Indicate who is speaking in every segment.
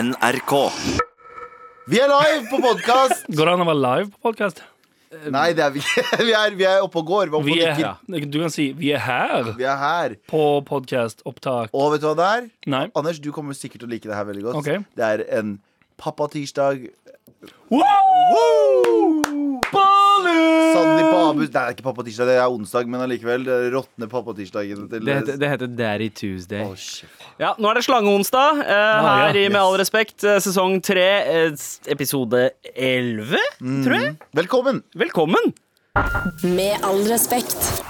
Speaker 1: NRK.
Speaker 2: Vi er live på podkast!
Speaker 3: Går det an å være live på podkast?
Speaker 2: Nei, det er vi ikke. Vi er, vi er oppe og går. Vi er, oppe
Speaker 3: Vi
Speaker 2: og
Speaker 3: er
Speaker 2: nikker.
Speaker 3: her. Du kan si 'vi er her'
Speaker 2: vi er her.
Speaker 3: på podkastopptak.
Speaker 2: Og vet du hva det er?
Speaker 3: Nei.
Speaker 2: Anders, du kommer sikkert til å like det her veldig godt.
Speaker 3: Ok.
Speaker 2: Det er en pappatirsdag. Sandeep og Abus Nei, det er ikke pappatirsdag, det er onsdag, men allikevel. Det er råtne pappatirsdagen til
Speaker 4: Det heter, det heter Daddy Tuesday.
Speaker 2: Å, shit.
Speaker 4: Ja, Nå er det slangeonsdag. Eh,
Speaker 3: Ah,
Speaker 4: her
Speaker 3: ja.
Speaker 4: i Med all respekt, eh, sesong tre, eh, s- episode elleve, tror jeg.
Speaker 2: Velkommen!
Speaker 4: Velkommen!
Speaker 5: Med all respekt.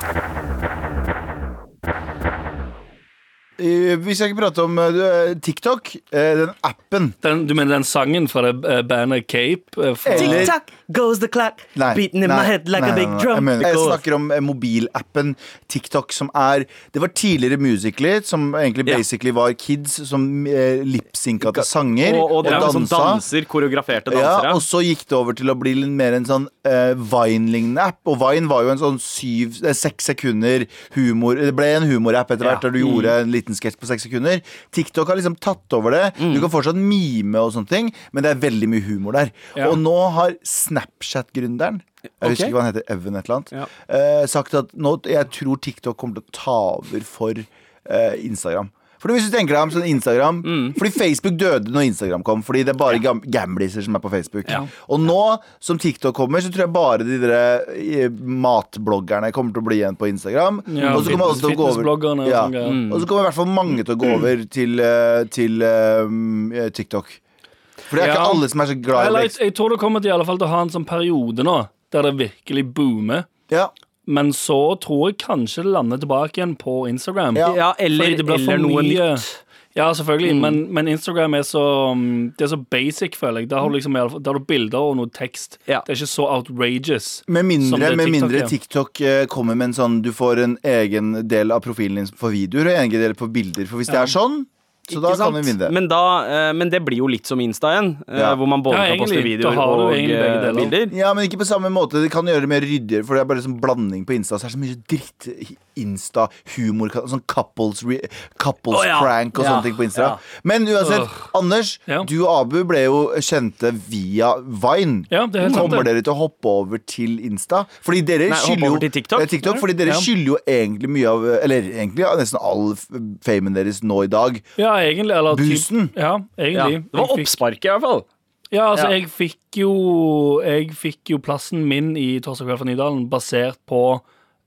Speaker 2: Eh, Vi skal ikke prate om eh, TikTok, eh, den appen.
Speaker 3: Den, du mener den sangen fra det eh, bandet Cape? eh, fra-
Speaker 2: Eller-
Speaker 4: Tick-tack goes the clock,
Speaker 2: Nei,
Speaker 4: beating in
Speaker 2: nei,
Speaker 4: my head like
Speaker 2: nei,
Speaker 4: a
Speaker 2: nei,
Speaker 4: big
Speaker 2: nei, Jeg,
Speaker 4: drum.
Speaker 2: mener, jeg snakker om eh, mobilappen TikTok, som er Det var tidligere Musically, som egentlig
Speaker 4: Ja.
Speaker 2: basically var kids som eh, lipsynka til sanger
Speaker 4: og, og det er
Speaker 2: dansa.
Speaker 4: sånn danser, koreograferte
Speaker 2: Ja,
Speaker 4: dansere.
Speaker 2: og så gikk det over til å bli litt mer en sånn eh, Vine-lignende app. Og Vine var jo en sånn syv, eh, seks sekunder humor Det ble en humorapp etter
Speaker 4: Ja.
Speaker 2: hvert, der du gjorde en liten sketsj på seks sekunder. TikTok har liksom tatt over det.
Speaker 3: Mm.
Speaker 2: Du kan fortsatt mime og sånne ting, men det er veldig mye humor der.
Speaker 3: Ja.
Speaker 2: Og nå har Snapchat-gründeren jeg husker ikke hva han heter, Evan et eller annet. eh, sagt at nå, jeg tror TikTok kommer til å ta over for eh, Instagram. For hvis du tenker deg om sånn Instagram
Speaker 3: Mm.
Speaker 2: Fordi Facebook døde når Instagram kom. Fordi det er bare gam gambliser som er på Facebook. Og nå som TikTok kommer, så tror jeg bare de der eh, matbloggerne kommer til å bli igjen på Instagram.
Speaker 3: Ja,
Speaker 2: og så kommer alle til å gå over
Speaker 3: fitnessbloggerne og
Speaker 2: ja.
Speaker 3: sånn greier.
Speaker 2: Og så kommer i hvert fall mange til å gå over til, eh, til eh, TikTok. For det er ikke
Speaker 3: Ja.
Speaker 2: alle som er så glad i
Speaker 3: Eller, jeg,
Speaker 2: det.
Speaker 3: jeg tror det kommer til i alle fall til å ha en sånn periode nå der det virkelig boomer.
Speaker 2: Ja,
Speaker 3: Men så tror jeg kanskje det lander tilbake igjen på Instagram.
Speaker 2: Ja.
Speaker 4: Ja, eller,
Speaker 3: Fordi det blir for
Speaker 4: eller noe
Speaker 3: mye.
Speaker 4: nytt. Mm.
Speaker 3: Ja, selvfølgelig, men, men Instagram er så, mm, det er så basic, føler jeg. Der har du, liksom, i alle fall- der har du bilder og noe tekst.
Speaker 4: Mm. Ja.
Speaker 3: Det er ikke så outrageous.
Speaker 2: Med
Speaker 3: Som
Speaker 2: mindre,
Speaker 3: det
Speaker 2: med
Speaker 3: TikTok
Speaker 2: mindre
Speaker 3: er.
Speaker 2: TikTok eh, kommer med en sånn Du får en egen del av profilen din for videoer og en egen del på bilder. For hvis det er sånn, så da
Speaker 4: Ikke sant?
Speaker 2: kan vi vinne.
Speaker 4: Men, da, eh, men det blir jo litt som Insta igjen, eh,
Speaker 2: Ja.
Speaker 4: hvor man både
Speaker 3: Ja,
Speaker 4: kan poste
Speaker 3: egentlig. Da
Speaker 4: videoer
Speaker 3: har du
Speaker 4: og
Speaker 3: egentlig
Speaker 4: eh,
Speaker 3: begge deler.
Speaker 4: bilder.
Speaker 2: Ja, men ikke på samme måte. Det kan gjøre det mer ryddigere, for det er bare sånn blanding på Insta. Så er det så mye dritt Insta-humor, sånn couples, re, couples
Speaker 4: Å, ja.
Speaker 2: prank og
Speaker 4: Ja.
Speaker 2: sånne ting på Insta.
Speaker 4: Ja.
Speaker 2: Men uansett, Anders,
Speaker 3: Ja.
Speaker 2: du og Abu ble jo kjente via Vine.
Speaker 3: Ja, det er helt sant,
Speaker 2: Kommer
Speaker 3: det.
Speaker 2: dere til å hoppe over til Insta? Fordi dere
Speaker 4: Nei, hoppe
Speaker 2: skylder jo
Speaker 4: over til TikTok?
Speaker 2: Ja, TikTok fordi dere
Speaker 3: Ja.
Speaker 2: skylder jo egentlig mye av Eller egentlig ja, nesten all f- famen deres nå i dag.
Speaker 3: Ja, egentlig. Eller typ-
Speaker 2: Busen.
Speaker 3: Ja,
Speaker 4: Ja.
Speaker 3: egentlig.
Speaker 4: Det var
Speaker 3: Jeg fikk-
Speaker 4: oppsparket, i hvert fall.
Speaker 3: Ja, altså,
Speaker 4: Ja.
Speaker 3: jeg fikk jo Jeg fikk jo plassen min i Torsdag kveld fra Nydalen basert på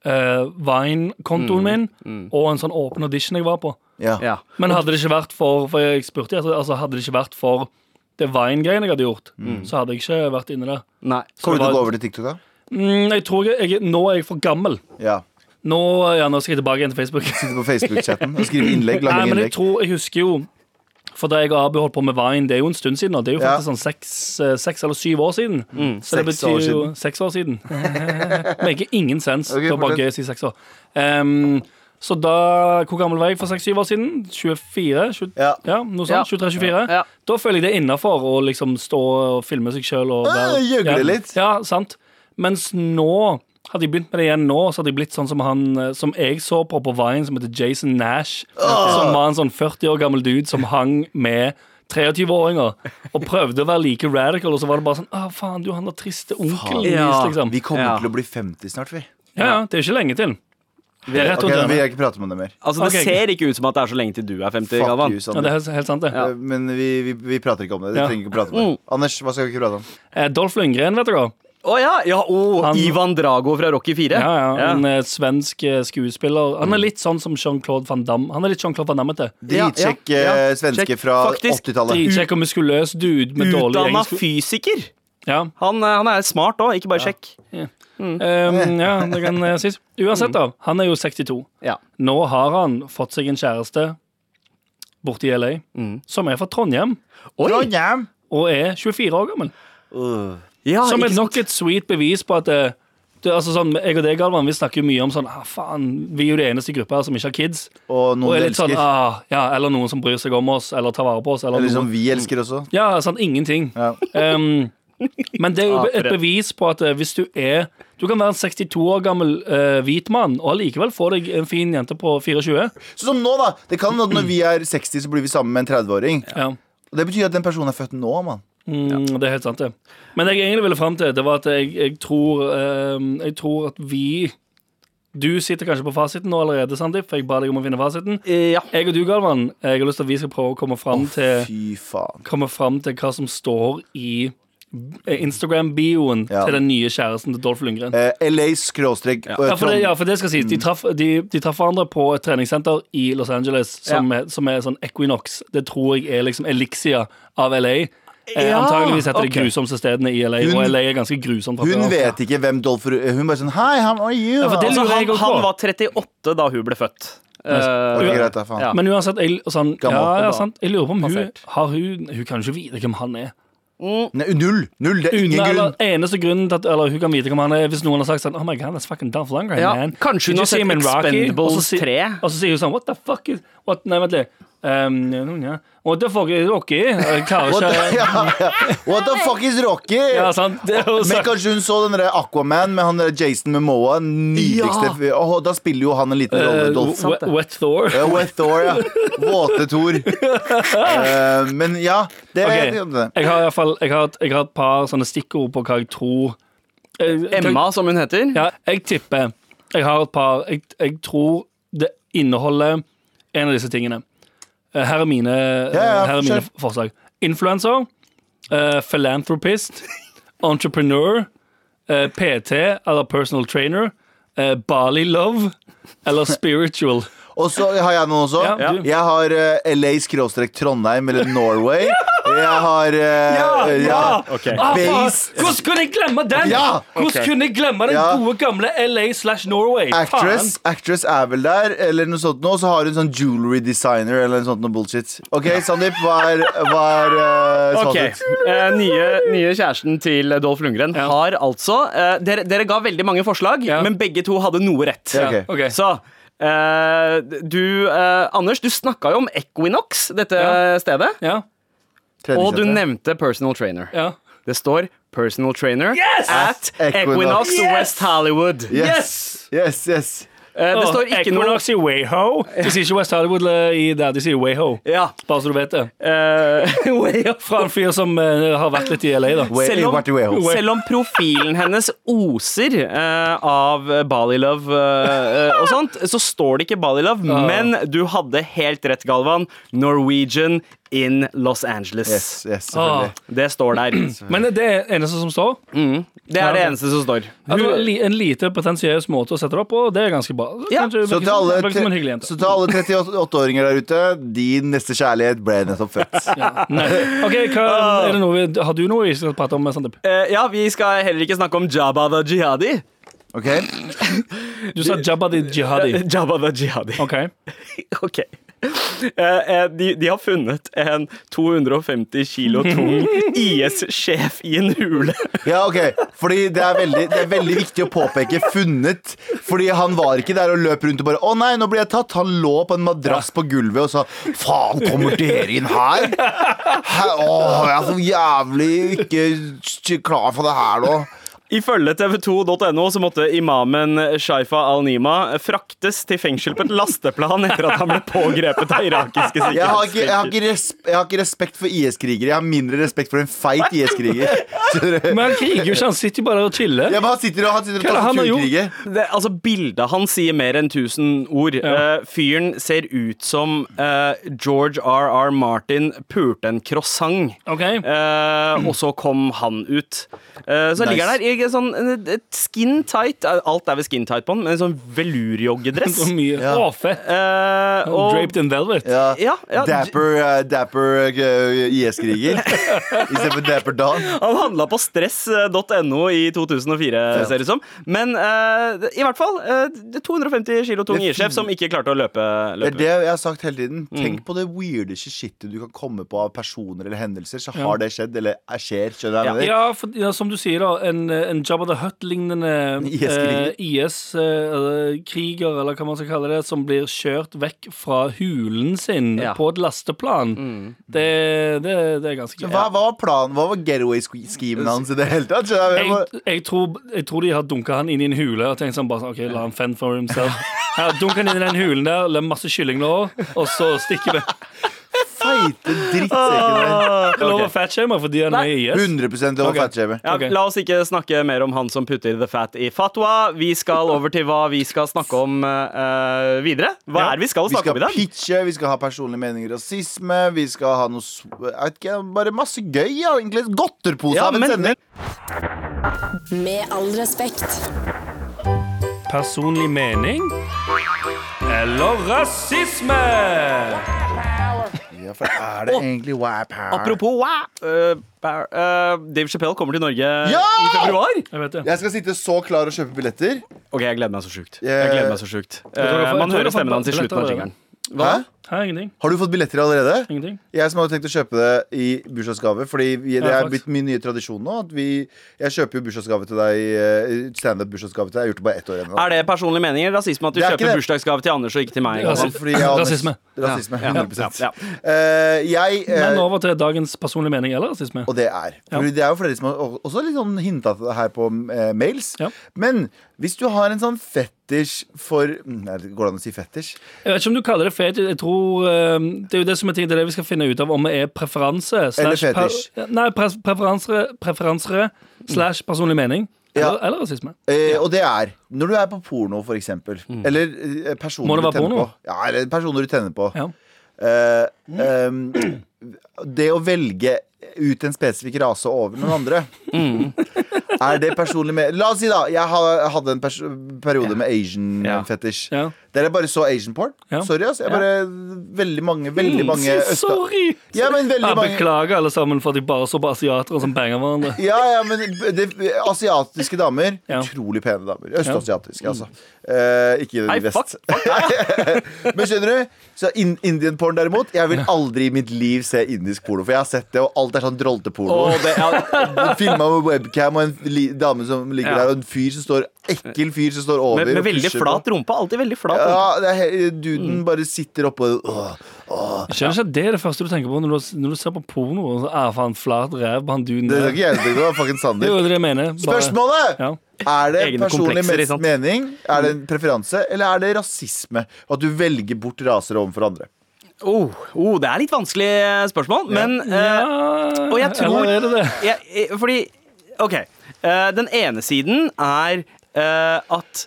Speaker 3: eh,
Speaker 4: Mm.
Speaker 3: Vine-kontoen min og en sånn åpen audition jeg var på.
Speaker 2: Ja.
Speaker 4: Ja.
Speaker 3: Men hadde det ikke vært for For jeg spurte, altså, altså hadde det ikke vært for det Vine-greiene jeg hadde gjort, så hadde jeg ikke vært inne der.
Speaker 4: Nei.
Speaker 3: Så
Speaker 2: Kommer du
Speaker 3: det
Speaker 2: til å gå
Speaker 3: var-
Speaker 2: over til TikTok, da?
Speaker 3: Mm, jeg tror jeg, jeg, nå er jeg for gammel.
Speaker 2: Ja.
Speaker 3: Nå, ja, nå skal jeg tilbake igjen til Facebook.
Speaker 2: Sitte på Facebook-chatten og skrive innlegg. Lange
Speaker 3: Nei, men
Speaker 2: innlegg.
Speaker 3: jeg tror, jeg husker jo For da jeg og Abu holdt på med Vine, det er jo en stund siden nå. Det er jo
Speaker 2: Ja.
Speaker 3: faktisk sånn seks, eh, seks eller syv år siden.
Speaker 4: Mm.
Speaker 3: så det
Speaker 2: Seks år
Speaker 3: betyr jo
Speaker 2: siden.
Speaker 3: Seks år siden. Maker ingen sens.
Speaker 2: Ok,
Speaker 3: det var bare
Speaker 2: fortsett.
Speaker 3: gøy å si seks år. Ehm, så da Hvor gammel var jeg for seks-syv år siden? 24? 20, ja.
Speaker 2: Ja.
Speaker 3: noe
Speaker 4: Ja.
Speaker 3: sånt. 23-24.
Speaker 4: Ja.
Speaker 3: Da føler jeg det er innafor å liksom stå og filme seg sjøl og
Speaker 2: Ja,
Speaker 3: være-
Speaker 2: jugle
Speaker 3: ja,
Speaker 2: Ah, litt.
Speaker 3: Ja, sant. Mens nå hadde jeg begynt med det igjen nå, så hadde jeg blitt sånn som han eh, som jeg så på på Vine, som heter Jason Nash. Som var en sånn 40 år gammel dude som hang med 23-åringer og prøvde å være like radical, og så var det bare sånn Å, faen, du, han der triste onkelen
Speaker 4: Faen.
Speaker 3: deres,
Speaker 4: Ja.
Speaker 3: liksom.
Speaker 2: Vi kommer
Speaker 4: Ja.
Speaker 2: til å bli 50 snart, vi.
Speaker 3: Ja, ja, det er ikke lenge til. Det er rett
Speaker 2: Ok,
Speaker 3: rundt
Speaker 2: da vil
Speaker 3: hjørnet.
Speaker 2: jeg ikke prate om det mer.
Speaker 4: Altså, det
Speaker 3: Ok.
Speaker 4: ser ikke ut som at det er så lenge til du er 50,
Speaker 2: Fuck
Speaker 4: Galvan.
Speaker 2: you,
Speaker 3: Ja, det
Speaker 2: Sander.
Speaker 3: er helt- helt sant, det.
Speaker 2: Eh, Men vi, vi, vi prater ikke om det. Vi
Speaker 3: Ja.
Speaker 2: trenger ikke prate om det. Anders, hva skal vi ikke prate om?
Speaker 3: Eh, Dolph Lundgren, vet dere.
Speaker 4: Å ja! ja å,
Speaker 3: Han-
Speaker 4: Ivan Drago fra Rocky 4.
Speaker 3: Ja, ja, En eh, svensk eh, skuespiller. Han er litt sånn som Jean-Claude van Damme. Han er litt Jean-Claude van Damme-ete.
Speaker 4: Ja,
Speaker 2: Dritsjekk
Speaker 4: ja, ja.
Speaker 2: eh, svenske
Speaker 4: Sjekk.
Speaker 2: fra
Speaker 4: Faktisk,
Speaker 2: 80-tallet.
Speaker 3: Dritkjekk og muskuløs dude med dårlig
Speaker 4: Utdanna
Speaker 3: egenskap.
Speaker 4: fysiker.
Speaker 3: Ja.
Speaker 4: Han, eh, han er smart òg, ikke bare sjekk.
Speaker 3: Ehm, ja, det kan eh, sies. Uansett, da. Han er jo 62.
Speaker 4: Ja.
Speaker 3: Nå har han fått seg en kjæreste borte i LA, som er fra Trondheim,
Speaker 2: Trondheim!
Speaker 3: og er 24 år gammel.
Speaker 4: Ja,
Speaker 3: Som
Speaker 4: Ah, ikke
Speaker 3: er nok et sweet bevis på at eh, det, altså sånn, Jeg og deg, Galvan, vi snakker jo mye om sånn ah, faen, Vi er jo det eneste i gruppa her som ikke har kids.
Speaker 2: Og
Speaker 3: Og
Speaker 2: noen
Speaker 3: er
Speaker 2: vi
Speaker 3: litt sånn,
Speaker 2: elsker.
Speaker 3: ah, ja, Eller noen som bryr seg om oss, eller tar vare på oss. Eller
Speaker 2: Eller som
Speaker 3: noen,
Speaker 2: vi elsker også.
Speaker 3: ja, sånn ingenting.
Speaker 2: Ja.
Speaker 3: Ehm, men det er jo et bevis på at eh, hvis du er Du kan være en 62 år gammel eh, hvit mann og allikevel få deg en fin jente på 24.
Speaker 2: Sånn som nå, da. Det kan at når vi er 60, så blir vi sammen med en 30-åring.
Speaker 3: Ja.
Speaker 2: Og det betyr at den personen er født nå, mann.
Speaker 3: Mm, Det er helt sant, det. Men det jeg egentlig ville fram til, det var at jeg, jeg, tror, eh, jeg tror at vi Du sitter kanskje på fasiten nå allerede, Sandeep, for jeg ba deg om å finne fasiten.
Speaker 4: Eh, Ja.
Speaker 3: Jeg og du, Galvan, jeg har lyst til at vi skal prøve å komme fram til
Speaker 2: Fy faen.
Speaker 3: komme fram til hva som står i Instagram-bioen
Speaker 2: Ja.
Speaker 3: til den nye kjæresten til Dolph Lundgren.
Speaker 2: Eh, LA skråstrek eh,
Speaker 3: Ja, for det, ja, for det skal sies. De traff, de, de traff hverandre på et treningssenter i Los Angeles som, er, som er sånn Equinox. Det tror jeg er liksom eliksia av LA. Eh,
Speaker 4: Ja,
Speaker 3: antageligvis et av de
Speaker 4: ok.
Speaker 3: grusomste stedene i LA, og
Speaker 2: Hun-
Speaker 3: LA er ganske grusomt. fra
Speaker 2: Hun
Speaker 3: før.
Speaker 2: vet ikke hvem Dolph Ru- Hun bare sånn Hi, how are you?
Speaker 3: for det
Speaker 2: Altså,
Speaker 4: Altså,
Speaker 3: lurer jeg
Speaker 4: han,
Speaker 3: også på.
Speaker 4: han var 38 da hun ble født. Eh,
Speaker 2: ok, greit, da, faen.
Speaker 4: ja.
Speaker 3: Men uansett, jeg, sånn, ja,
Speaker 2: Gammel.
Speaker 3: ja, sant, jeg lurer på om hun,
Speaker 4: Passert.
Speaker 3: har hun Hun kan jo ikke vite hvem han er.
Speaker 2: Nei, null. Null. Det er
Speaker 3: Uten,
Speaker 2: ingen
Speaker 3: eller,
Speaker 2: grunn.
Speaker 3: eneste grunnen til at eller, hun kan vite hvem han er, hvis noen har sagt sånn Oh my god, that's fucking Dolph Lundgren,
Speaker 4: Ja,
Speaker 3: man. Did
Speaker 4: kanskje hun
Speaker 3: you
Speaker 4: har
Speaker 3: see
Speaker 4: sett
Speaker 3: him in Rocky?
Speaker 4: Expendables
Speaker 3: Og så si-
Speaker 4: 3.
Speaker 3: Og så sier hun sånn What the fuck is what, Nei, vent litt. Um, no, no, What the fuck is Rocky? Jeg klarer ikke
Speaker 2: Ja, ja. What the fuck is Rocky?
Speaker 3: Ja, altså, sant? Det er jo
Speaker 2: Men
Speaker 3: sagt.
Speaker 2: kanskje hun så den der Aquaman med han der Jason Momoa. Nydeligste fyr. Åh, Da spiller jo han en liten rolle.
Speaker 3: Eh,
Speaker 2: Dolph.
Speaker 3: wet, wet Thor.
Speaker 2: Ja, Wet Thor, ja. Våte Thor. Eh, men ja, det
Speaker 3: Ok,
Speaker 2: det- det-
Speaker 3: Jeg har i hvert fall jeg har, et- jeg har et par sånne stikkord på hva jeg tror Eh,
Speaker 4: Emma, som hun heter.
Speaker 3: Ja, jeg tipper Jeg har et par Jeg, jeg tror det inneholder en av disse tingene. Eh, Her er mine,
Speaker 2: ja,
Speaker 3: her er mine
Speaker 2: kjør.
Speaker 3: forslag. Influencer. eh, philanthropist. Entrepreneur. eh, PT eller personal trainer. eh, Bali love. Eller spiritual.
Speaker 2: Og så har jeg noen også.
Speaker 3: Ja, Ja. du.
Speaker 2: Jeg har eh, LA skråstrek Trondheim eller Norway. Jeg har eh, ja.
Speaker 4: Ok.
Speaker 3: Ah, faen!
Speaker 2: Base.
Speaker 3: Hvordan kunne jeg glemme den?!
Speaker 2: Ja.
Speaker 3: Hvordan kunne jeg glemme den
Speaker 2: Ja.
Speaker 3: gode, gamle LA slash Norway?
Speaker 2: Actress, actress er vel der, eller noe sånt nå. Så har hun sånn jewelry designer eller noe sånt noe bullshit. OK, Sandeep, hva er, hva er eh,
Speaker 4: Ok,
Speaker 2: svaret ditt?
Speaker 4: eh, nye, nye kjæresten til Dolph Lundgren har altså eh, dere, dere ga veldig mange forslag,
Speaker 3: Ja.
Speaker 4: men begge to hadde noe rett.
Speaker 2: Ja,
Speaker 3: Faen.
Speaker 2: ok.
Speaker 3: Ok.
Speaker 4: Så eh, du, eh, Anders, du snakka jo om Equinox, dette
Speaker 3: Ja.
Speaker 4: stedet.
Speaker 3: Ja,
Speaker 4: Og du
Speaker 2: Treningssenter.
Speaker 4: nevnte personal trainer.
Speaker 3: ja.
Speaker 4: Det står personal trainer
Speaker 3: Yes!
Speaker 4: at Equinox
Speaker 2: Equinox.
Speaker 3: Yes!
Speaker 4: West Hollywood.
Speaker 2: Yes! Yes, yes.
Speaker 4: Eh, det
Speaker 3: Åh,
Speaker 4: står ikke noe
Speaker 3: Equinox i Wayho. De sier ikke West Hollywood eller i der, de sier Wayho.
Speaker 4: ja.
Speaker 3: Bare så du vet det.
Speaker 4: eh,
Speaker 3: Fra en fyr som eh, har vært litt i LA, da.
Speaker 2: Way,
Speaker 4: Selv om-
Speaker 2: Marty Wayhoff.
Speaker 3: Way-
Speaker 4: Selv om profilen hennes oser eh, av Bali-love eh, og sånt, så står det ikke Bali-love,
Speaker 3: Ah.
Speaker 4: men du hadde helt rett, Galvan. Norwegian in Los Angeles.
Speaker 2: Yes, yes, selvfølgelig. Mhm.
Speaker 4: Det står der.
Speaker 3: Ah.
Speaker 4: Mm.
Speaker 3: Men det er det eneste som står.
Speaker 4: Det er det eneste som står.
Speaker 3: At det var li en lite pretensiøs måte å sette det opp på, og det er ganske bra.
Speaker 4: Ja.
Speaker 3: Kanskje sånn-
Speaker 2: Så
Speaker 3: virker
Speaker 2: til
Speaker 3: som-
Speaker 2: alle,
Speaker 3: virker som en hyggelig jente.
Speaker 2: så til alle 38-åringer der ute, din neste kjærlighet ble nettopp født.
Speaker 3: Nei. Ok, hva,
Speaker 2: Ah.
Speaker 3: er det noe vi, Har du noe vi skal prate om, Sandeep?
Speaker 4: Eh, ja, vi skal heller ikke snakke om Jabba the Jihadi.
Speaker 2: Ok?
Speaker 3: Du sa Jabba the Jihadi.
Speaker 4: Jabba the Jihadi.
Speaker 3: Ok.
Speaker 4: Ok. Eh, eh, De, de har funnet en 250 kilo tung IS-sjef i en hule.
Speaker 2: Ja, ok. Fordi det er, veldig, det er veldig viktig å påpeke 'funnet'. Fordi han var ikke der og løp rundt og bare 'Å nei, nå ble jeg tatt'. Han lå på en madrass på gulvet og sa 'Faen, kommer dere inn her?' Hæ? Å, jeg er så jævlig ikke s- klar for det her nå.
Speaker 4: Ifølge tv2.no så måtte imamen Shaifa al-Nima fraktes til fengsel på et lasteplan etter at han ble pågrepet av irakiske
Speaker 2: Jeg har ikke, jeg har
Speaker 4: sikkerhetsstyrker.
Speaker 2: ikke, resp jeg har ikke respekt for IS-krigere. Jeg har mindre respekt for en feit IS-kriger. Skjønner du?
Speaker 3: Men han kriger jo ikke, han sitter jo bare og chiller.
Speaker 2: Ja, men han sitter og han sitter og
Speaker 3: Hva er det
Speaker 2: tar
Speaker 3: han har gjort?
Speaker 2: torturkriger.
Speaker 4: Det, altså, bildet han sier mer enn 1000 ord. Eh, fyren ser ut som eh, George R.R. Martin pulte en croissant.
Speaker 3: Ok.
Speaker 4: Eh, og så kom han ut. Eh,
Speaker 2: Nice.
Speaker 4: så ligger han der i en sånn eh, et skin tight Eh, Alt er vel skin tight på han, men en sånn velurjoggedress.
Speaker 3: Så mye.
Speaker 2: Ja.
Speaker 3: Å, fett.
Speaker 4: Eh, og
Speaker 3: Draped in velvet.
Speaker 2: Ja.
Speaker 4: Ja, ja.
Speaker 2: Dapper, eh, dapper eh, IS-kriger. Istedenfor Dapper Dan.
Speaker 4: Han handla på eh, stress.no i 2004, ser det ut som. Men eh, i hvert fall eh, det er 250 kilo tung
Speaker 2: Det er
Speaker 4: IS-sjef som ikke klarte å løpe.
Speaker 2: Det er
Speaker 4: løpe.
Speaker 2: det jeg har sagt hele tiden.
Speaker 4: Mm.
Speaker 2: Tenk på det weirdeste shitet du kan komme på av personer eller hendelser, så har det skjedd, eller er skjer. Skjønner du? hva jeg mener?
Speaker 3: Ja, for, ja, som du sier, da. En, en Jabba the Hutt-lignende eh,
Speaker 2: IS-kriger.
Speaker 3: IS-kriger, eh, eller hva man skal kalle det, som blir kjørt vekk fra hulen sin
Speaker 4: Ja.
Speaker 3: på et lasteplan. Det, det, det er ganske
Speaker 2: Mm. Så
Speaker 3: gøy.
Speaker 2: Hva, hva var planen? Hva var getaway-schemen hans i det hele tatt? Skjønner du? hva jeg mener?
Speaker 3: Jeg, jeg, tror, jeg tror de har dunka han inn i en hule og tenkt sånn bare sånn, OK, la han fend for himself. Her, Dunk han inn i den hulen der, la masse kyllinglår, og så stikker vi.
Speaker 2: Feite feite drittsekken
Speaker 3: Det er lov å
Speaker 2: der. Ok.
Speaker 3: fatshame fordi han er i IS.
Speaker 2: 100 lov å
Speaker 3: Ok.
Speaker 2: fatshame.
Speaker 4: Ja,
Speaker 3: Ok.
Speaker 4: La oss ikke snakke mer om han som putter the fat i fatwa. Vi skal over til hva vi skal snakke om eh, videre. Hva
Speaker 3: Ja.
Speaker 4: er det vi skal
Speaker 2: Vi
Speaker 4: snakke
Speaker 2: skal
Speaker 4: om i dag?
Speaker 2: pitche, vi skal ha personlige meninger, rasisme, vi skal ha noe s- jeg vet ikke, Bare masse gøy, ja, egentlig. Godterpose
Speaker 4: Ja,
Speaker 2: av en
Speaker 4: men-
Speaker 2: sending.
Speaker 5: Med all respekt.
Speaker 3: Personlig mening eller rasisme?
Speaker 2: Ja, for er det egentlig wap her?
Speaker 4: Apropos wow. eh, bar- eh, Dave Chappelle kommer til Norge i februar.
Speaker 3: Jeg vet det.
Speaker 2: Jeg skal sitte så klar og kjøpe billetter.
Speaker 4: Ok, jeg gleder meg så sjukt.
Speaker 2: Jeg-
Speaker 4: Jeg gleder meg så sjukt.
Speaker 3: tror jeg
Speaker 4: Eh,
Speaker 3: får- jeg tror
Speaker 4: man hører
Speaker 3: jeg får
Speaker 4: stemmen hans i
Speaker 3: billett
Speaker 4: slutten av
Speaker 3: allerede.
Speaker 4: jingeren.
Speaker 2: Hæ?
Speaker 3: Hæ, ingenting.
Speaker 2: Har du fått billetter allerede?
Speaker 3: Ingenting.
Speaker 2: Jeg som hadde tenkt å kjøpe det i bursdagsgave. Fordi vi, det
Speaker 3: Ja,
Speaker 2: er
Speaker 3: flaks.
Speaker 2: blitt min nye tradisjon nå. At vi, jeg kjøper jo bursdagsgave til deg eh, standup-bursdagsgave til deg. Jeg har gjort det bare ett år igjen. nå.
Speaker 4: Er det personlige meninger? Rasisme at du
Speaker 2: Det er ikke
Speaker 4: kjøper
Speaker 2: det.
Speaker 4: bursdagsgave til Anders og ikke til meg?
Speaker 3: Ja,
Speaker 4: Galvan?
Speaker 3: altså,
Speaker 2: Fordi jeg har-
Speaker 3: Rasisme.
Speaker 2: Rasisme,
Speaker 4: Ja,
Speaker 2: 100
Speaker 4: ja, ja.
Speaker 2: Eh, Jeg eh,
Speaker 3: Men over til dagens personlige mening eller rasisme.
Speaker 2: Og det er.
Speaker 3: Ja.
Speaker 2: For det er jo flere som har og- også litt sånn hinta til det her på eh, mails.
Speaker 3: Ja.
Speaker 2: Men hvis du har en sånn fetisj for mm, Nei, Går det an å si fetisj?
Speaker 3: Jeg vet ikke om du kaller det fetisj. Jeg tror, eh, det er jo det som er tid, det er det vi skal finne ut av om det er preferanse. slash
Speaker 2: Eller
Speaker 3: per-
Speaker 2: fetisj.
Speaker 3: Nei, pre preferanser, preferanser slash personlig mening.
Speaker 2: Ja.
Speaker 3: Eller, eller rasisme.
Speaker 2: Eh, Og det er når du er på porno, for eksempel.
Speaker 4: Mm.
Speaker 2: Eller eh,
Speaker 3: Må
Speaker 2: personer
Speaker 3: det
Speaker 2: du
Speaker 3: være
Speaker 2: tenner
Speaker 3: porno?
Speaker 2: på. Ja, eller personer du tenner på.
Speaker 3: Ja.
Speaker 2: Eh, ehm, det å velge ut en spesifikk rase over noen andre
Speaker 3: Mm.
Speaker 2: Er det personlig med La oss si, da. Jeg ha- hadde en pers periode med asian
Speaker 4: Ja.
Speaker 2: fetisj.
Speaker 3: Ja.
Speaker 2: Der jeg bare så asian porn.
Speaker 3: Ja. Mm.
Speaker 2: Sorry, ass. Jeg bare, Veldig mange veldig mange østa...
Speaker 3: Sorry!
Speaker 2: Ja, men veldig
Speaker 3: Jeg
Speaker 2: mange
Speaker 3: beklager alle sammen for at de bare så på asiatere som banger hverandre.
Speaker 2: ja, ja, men det, asiatiske damer.
Speaker 3: Ja.
Speaker 2: Utrolig pene damer. Østasiatiske, altså. Eh, ikke
Speaker 4: Mm. Nei,
Speaker 2: vest.
Speaker 4: fuck, fuck.
Speaker 2: Men skjønner du? Så in Indian porn derimot Jeg vil aldri i mitt liv se indisk porno, for jeg har sett det, og alt er sånn drolteporno.
Speaker 4: Å, det, ja,
Speaker 2: Filma med webcam og en li dame som ligger
Speaker 4: Ja.
Speaker 2: der, og en fyr som står ekkel fyr som står over.
Speaker 4: med, med
Speaker 2: og
Speaker 4: veldig
Speaker 2: pusher på.
Speaker 4: flat rumpe. Mm. Alltid veldig flat. rumpe.
Speaker 2: Ja, det er, he- duden bare sitter oppå Åh,
Speaker 3: Jeg skjønner ikke at det er det første du tenker på når du, når du ser på porno. Og så, ah, faen, flat ræv på han duden
Speaker 2: Det er
Speaker 3: der.
Speaker 2: ikke jeg som tenker på, det er fucking
Speaker 3: Det er
Speaker 2: Sander.
Speaker 3: jo det jeg mener. Bare-
Speaker 2: Spørsmålet!
Speaker 3: Ja.
Speaker 2: Er det
Speaker 4: Egne
Speaker 2: personlig
Speaker 4: komplekser, ikke sant? Mm.
Speaker 2: mening, er det en preferanse, eller er det rasisme? At du velger bort raser overfor andre?
Speaker 4: Oh, oh, det er litt vanskelig eh, spørsmål, men eh,
Speaker 3: Ja,
Speaker 4: Og jeg tror
Speaker 3: Ah, Eller er det det?
Speaker 4: jeg, jeg, Fordi OK. eh, den ene siden er eh, at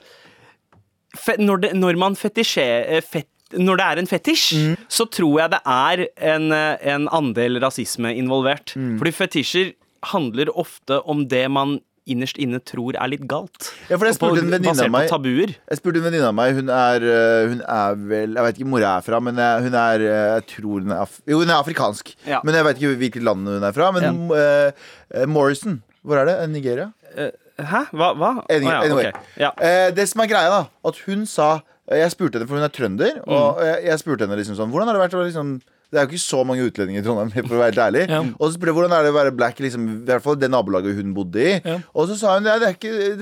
Speaker 4: fe, når, det, når man fetisjer eh, fet, Når det er en fetisj,
Speaker 3: Mm.
Speaker 4: så tror jeg det er en, eh, en andel rasisme involvert.
Speaker 3: Mm.
Speaker 4: Fordi fetisjer handler ofte om det man innerst inne tror er litt galt.
Speaker 2: Ja, for jeg
Speaker 4: Og på-
Speaker 2: spurte en venninne
Speaker 4: basert
Speaker 2: av
Speaker 4: på
Speaker 2: meg
Speaker 4: tabuer.
Speaker 2: Jeg spurte en venninne av meg. Hun er, øh, hun er vel Jeg vet ikke hvor hun er fra, men jeg- hun er øh, Jeg tror hun er af Jo, hun er afrikansk.
Speaker 4: Ja.
Speaker 2: Men jeg vet ikke hvilket land hun er fra. Men øh, øh, Morrison Hvor er det? Eh, Nigeria?
Speaker 4: Hæ? Hva? hva?
Speaker 2: Anyway,
Speaker 4: Å, ja,
Speaker 2: anyway.
Speaker 4: ok. ja.
Speaker 2: Eh, det som er greia, da, at hun sa Jeg spurte henne, for hun er trønder,
Speaker 4: Mm.
Speaker 2: og jeg, jeg spurte henne liksom sånn Hvordan har det vært å være liksom det er jo ikke så mange utlendinger i Trondheim. for å være helt ærlig
Speaker 3: Ja.
Speaker 2: Og så spurte jeg hvordan er det å være black liksom, i hvert fall det nabolaget hun bodde i.
Speaker 3: Ja.
Speaker 2: Og så sa hun at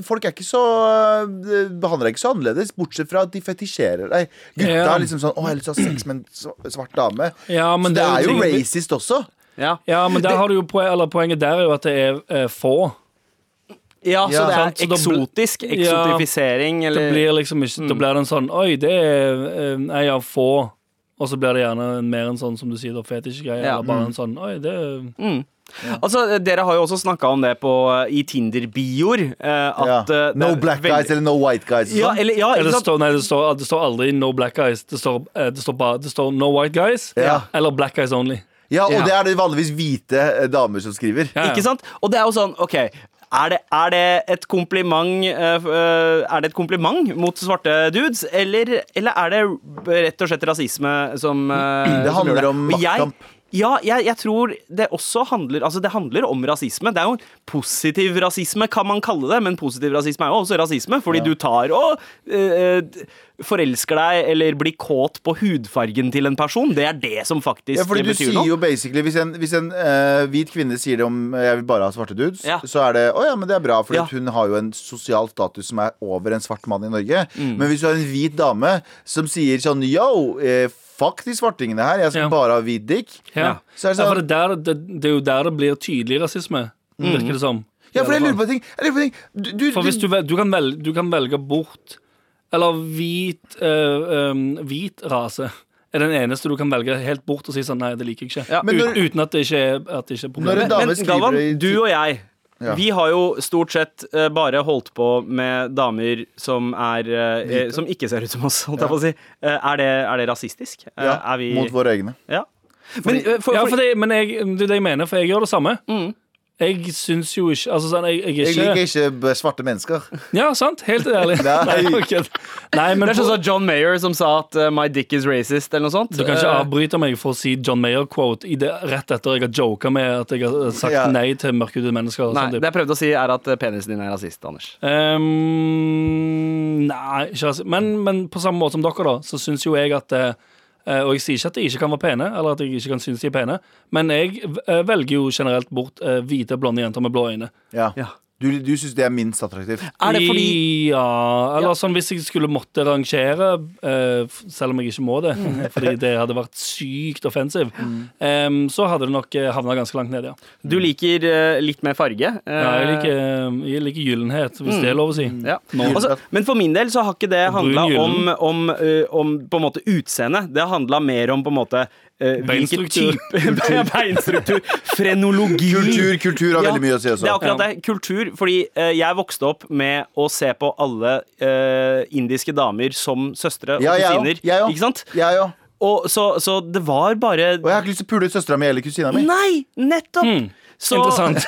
Speaker 2: folk er ikke så øh, behandler deg ikke så annerledes, bortsett fra at de fetisjerer deg. Gutta
Speaker 3: Ja.
Speaker 2: er liksom sånn 'Å, jeg har lyst til å ha sex med en sv- svart dame'.
Speaker 3: Ja, men
Speaker 2: så det er jo
Speaker 3: ting-
Speaker 2: racist også.
Speaker 4: Ja.
Speaker 3: Ja, men der har du jo poen, eller poenget der er jo at det er eh, få.
Speaker 4: ja, så
Speaker 2: Ja.
Speaker 4: det
Speaker 3: Sant, så
Speaker 4: er
Speaker 3: da bl-
Speaker 4: eksotisk.
Speaker 3: Ja.
Speaker 4: Eksotifisering,
Speaker 3: Det
Speaker 4: eller
Speaker 3: blir liksom ikke
Speaker 2: Mm.
Speaker 3: Da blir det en sånn Oi, det er eh, Nei, jeg har få. Og så blir det gjerne en- mer en sånn som du sier, da, fetisjgreie.
Speaker 4: Ja.
Speaker 3: Eller
Speaker 2: Mm.
Speaker 3: bare en sånn Oi, det er
Speaker 4: Altså, Dere har jo også snakka om det på, i Tinder-bioer. eh,
Speaker 2: Ja.
Speaker 4: At eh, det
Speaker 2: No
Speaker 4: er
Speaker 2: black
Speaker 4: veldig-
Speaker 2: guys eller no white guys.
Speaker 4: Ja, eller, ja,
Speaker 3: Eller
Speaker 4: ikke
Speaker 3: det
Speaker 4: sant?
Speaker 3: står, nei, det står, det står aldri no black guys. Det står, eh, det står, bare, det står no white guys
Speaker 2: Ja.
Speaker 3: eller black guys only.
Speaker 2: ja, og
Speaker 4: Ja.
Speaker 2: det er det vanligvis hvite eh, damer som skriver.
Speaker 3: Ja, ja.
Speaker 4: Ikke sant? Og det er jo sånn, OK. Er det, er det et kompliment eh, f- eh, Er det et kompliment mot svarte dudes, eller, eller er det rett og slett rasisme som eh,
Speaker 2: Det
Speaker 4: som gjør
Speaker 2: handler om
Speaker 4: Og jeg-
Speaker 2: maktkamp.
Speaker 4: Ja, jeg, jeg tror det også handler Altså, det handler om rasisme. Det er jo en positiv rasisme, kan man kalle det, men positiv rasisme er jo også rasisme, fordi du tar og eh, d- forelsker deg eller blir kåt på hudfargen til en person. Det er det som faktisk
Speaker 2: Ja, fordi du
Speaker 4: betyr
Speaker 2: sier
Speaker 4: noe.
Speaker 2: jo basically Hvis en, hvis en eh, hvit kvinne sier det om eh, 'jeg vil bare ha svarte dudes',
Speaker 4: Ja.
Speaker 2: så er det å ja, men det er bra, for
Speaker 4: Ja.
Speaker 2: hun har jo en sosial status som er over en svart mann i Norge.
Speaker 4: Mm.
Speaker 2: Men hvis du har en hvit dame som sier sånn 'yo, eh, fuck de svartingene her, jeg skal
Speaker 3: Ja.
Speaker 2: bare ha hvit dick',
Speaker 3: Ja.
Speaker 2: så er det
Speaker 3: Ja,
Speaker 2: sånn
Speaker 3: for
Speaker 2: Mm.
Speaker 3: det, er der, det, det er jo der det blir tydelig rasisme, virker det som.
Speaker 2: Ja, for jeg lurer på en ting. Jeg lurer på en ting. Du, du,
Speaker 3: For hvis
Speaker 2: du,
Speaker 3: du, vel- du, kan velge, du kan velge bort Eller hvit eh, eh, Hvit rase er den eneste du kan velge helt bort og si sånn Nei, det liker jeg ikke.
Speaker 4: Ja.
Speaker 2: Men når-
Speaker 3: Ut, uten at det ikke er, at det ikke er
Speaker 2: Når en
Speaker 3: problemer.
Speaker 2: dame
Speaker 4: Men
Speaker 2: skriver
Speaker 4: Galvan,
Speaker 2: i-
Speaker 4: du og jeg
Speaker 2: Ja.
Speaker 4: Vi har jo stort sett eh, bare holdt på med damer som er eh, eh, Som ikke ser ut som oss, holdt jeg på å si. Eh, er, det, er det rasistisk? Eh,
Speaker 2: ja,
Speaker 4: er vi
Speaker 2: mot våre egne.
Speaker 4: Ja. Men, eh, for,
Speaker 3: Ja,
Speaker 4: for,
Speaker 3: for det, men jeg, det er det jeg mener, for jeg gjør det samme. Jeg syns jo ikke Altså sånn, jeg, jeg
Speaker 2: Jeg
Speaker 3: er
Speaker 2: liker
Speaker 3: ikke
Speaker 2: ikke b- svarte mennesker.
Speaker 3: Ja, sant? Helt ærlig.
Speaker 2: Nei.
Speaker 3: Nei, ok. Nei, men
Speaker 4: det er sånn
Speaker 3: på-
Speaker 4: som John Mayer som sa at eh, 'my dick is racist', eller noe sånt.
Speaker 3: Du kan ikke
Speaker 4: Eh,
Speaker 3: avbryte meg for å si John Mayer-quote i det- rett etter jeg har joka med at jeg har sagt
Speaker 2: Ja.
Speaker 3: nei til mørkhudede mennesker. og
Speaker 4: Nei,
Speaker 3: sånn typ.
Speaker 4: det jeg prøvde å si, er at eh, penisen din er rasist, Anders.
Speaker 3: Ehm, nei, ikke rasist. Men, men på samme måte som dere, da, så syns jo jeg at eh, eh, Og jeg sier ikke at de ikke kan være pene, eller at jeg ikke kan synes de er pene, men jeg eh, velger jo generelt bort eh, hvite, blonde jenter med blå øyne.
Speaker 2: Ja.
Speaker 4: Ja.
Speaker 2: Du, du syns det er minst attraktivt.
Speaker 4: Er det fordi
Speaker 3: Ja, eller sånn hvis jeg skulle måtte rangere, eh, f- selv om jeg ikke må det,
Speaker 4: Mm.
Speaker 3: fordi det hadde vært sykt offensiv, ehm, så hadde det nok eh, havna ganske langt ned, ja.
Speaker 4: du liker eh, litt mer farge? eh, Mm.
Speaker 3: ja jeg, liker, eh, jeg liker gyllenhet, hvis det er lov å si.
Speaker 4: Ja.
Speaker 2: Nå-
Speaker 4: Altså, men for min del så har ikke det handla om,
Speaker 3: gyllen.
Speaker 4: om, eh, om på en måte utseende. Det har handla mer om på en måte eh, hvilken
Speaker 3: Beinstruktur.
Speaker 4: type Ja, Beinstruktur. Frenologi.
Speaker 2: Kultur, kultur har veldig mye å si
Speaker 4: Det er
Speaker 2: også.
Speaker 4: akkurat det. Kultur. Fordi eh, jeg vokste opp med å se på alle eh, indiske damer som søstre og
Speaker 2: Ja, jeg òg.
Speaker 4: kusiner.
Speaker 2: Jeg òg.
Speaker 4: ikke sant?
Speaker 2: Jeg òg.
Speaker 4: Og så, så det var bare
Speaker 2: Og jeg har ikke lyst til å pule ut søstera mi eller kusina mi.
Speaker 4: Nei, nettopp! Så,
Speaker 3: Hmm. Interessant.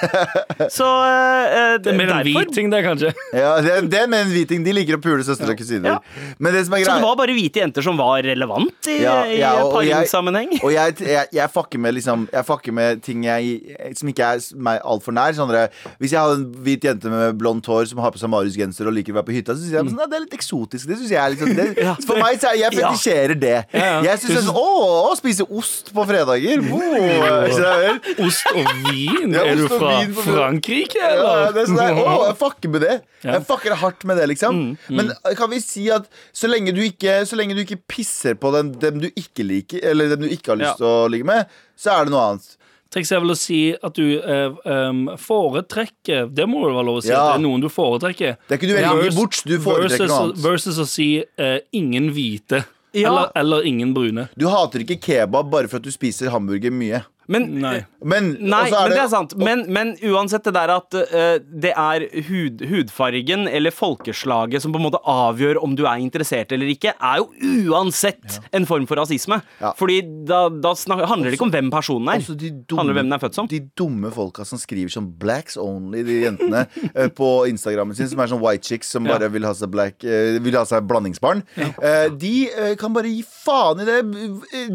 Speaker 4: så eh,
Speaker 3: Det er mer en
Speaker 4: derfor-
Speaker 3: hvit ting, det, kanskje.
Speaker 2: Ja, det, det er med en hviting. De liker å pule søstre og kusiner.
Speaker 4: Ja.
Speaker 2: Men det som er
Speaker 4: Så det
Speaker 2: greia
Speaker 4: var bare hvite jenter som var relevant i,
Speaker 2: Ja,
Speaker 4: i
Speaker 2: ja, og- og jeg-
Speaker 4: paringssammenheng?
Speaker 2: og jeg, jeg, jeg, fucker med, liksom, jeg fucker med ting jeg, som ikke er s- meg altfor nær. Sånn der, hvis jeg hadde en hvit jente med blondt hår som har på seg Marius-genser og liker å være på hytta, så syns jeg sånn, «Nei, det er litt eksotisk. Det synes jeg er litt sånn- det,
Speaker 4: Mm. Ja.
Speaker 2: For meg så er jeg fetisjerer det.
Speaker 3: Ja, ja.
Speaker 2: Jeg syns sånn Å, å spise ost på fredager! Wow. Skjønner du?
Speaker 3: Ost og vin?
Speaker 2: Ja,
Speaker 3: er du
Speaker 2: ost og
Speaker 3: fra
Speaker 2: vin på-
Speaker 3: Frankrike,
Speaker 2: Ja,
Speaker 3: eller?
Speaker 2: det er sånn der, å, jeg fucker med det. Jeg fucker hardt med det, liksom.
Speaker 4: Mm,
Speaker 2: Men kan vi si at så lenge du ikke, så lenge du ikke pisser på den, dem du ikke liker, eller dem du ikke har lyst til å ligge med, så er det noe annet.
Speaker 3: Triks er vel å si at du eh, em, foretrekker Det må det være lov å si.
Speaker 2: Ja.
Speaker 3: At det er noen du foretrekker.
Speaker 2: Det er ikke du velger
Speaker 3: Versus-
Speaker 2: bort, du foretrekker
Speaker 3: versus,
Speaker 2: noe annet.
Speaker 3: Versus å si eh, ingen hvite.
Speaker 4: Ja.
Speaker 3: Eller, eller ingen brune.
Speaker 2: Du hater ikke kebab bare for at du spiser hamburger mye.
Speaker 4: Men,
Speaker 3: Nei.
Speaker 2: Men,
Speaker 4: Nei,
Speaker 2: og så
Speaker 4: men det er sant. Men, men uansett det der at eh, det er hud, hudfargen eller folkeslaget som på en måte avgjør om du er interessert eller ikke, er jo uansett en form for rasisme.
Speaker 2: Ja.
Speaker 4: Fordi da, da snak, handler det ikke om hvem personen er.
Speaker 2: Også Altså, de
Speaker 4: Handler det om hvem den er født som?
Speaker 2: De dumme folka som skriver sånn blacks only, de jentene eh, på Instagrammen sin, som er sånn white chicks som bare vil ha seg black eh, Vil ha seg blandingsbarn. Eh, de eh, kan bare gi faen i det.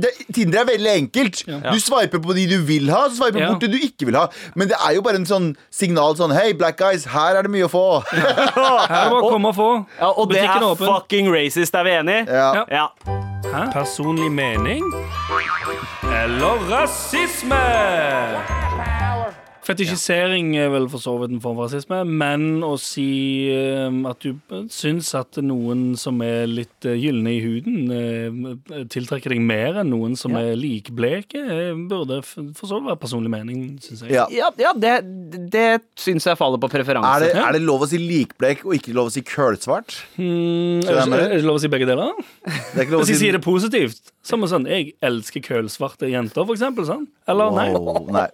Speaker 2: det. Tinder er veldig enkelt. Du sveiper på de du vil ha, så sveiper
Speaker 3: Ja.
Speaker 2: bort de du ikke vil ha. Men det er jo bare en sånn signal sånn Hei, black guys, her er det mye å få.
Speaker 3: Her må komme og få.
Speaker 4: Ja, og det
Speaker 3: Butikken
Speaker 4: er
Speaker 3: er åpen.
Speaker 4: fucking racist, er vi enige?
Speaker 2: Ja.
Speaker 4: Ja.
Speaker 3: Personlig mening eller rasisme? Fetisjisering er vel for så vidt en form for rasisme, men å si eh, at du syns at noen som er litt eh, gylne i huden, eh, tiltrekker deg mer enn noen som er likbleke, eh, burde f- for så vidt være personlig mening, syns jeg.
Speaker 2: Ja.
Speaker 4: Ja, ja, det, det syns jeg faller på preferanse.
Speaker 2: Er det, er det lov å si likblek og ikke lov å si kølsvart?
Speaker 3: Mm,
Speaker 2: Så det
Speaker 3: er,
Speaker 2: er
Speaker 3: det,
Speaker 2: med det?
Speaker 3: er det lov å si begge deler?
Speaker 2: Det er ikke lov å
Speaker 3: Hvis jeg
Speaker 2: si
Speaker 3: sier det positivt, som er sånn Jeg elsker kølsvarte jenter, for eksempel. Sant? Eller nei?
Speaker 2: Wow, nei.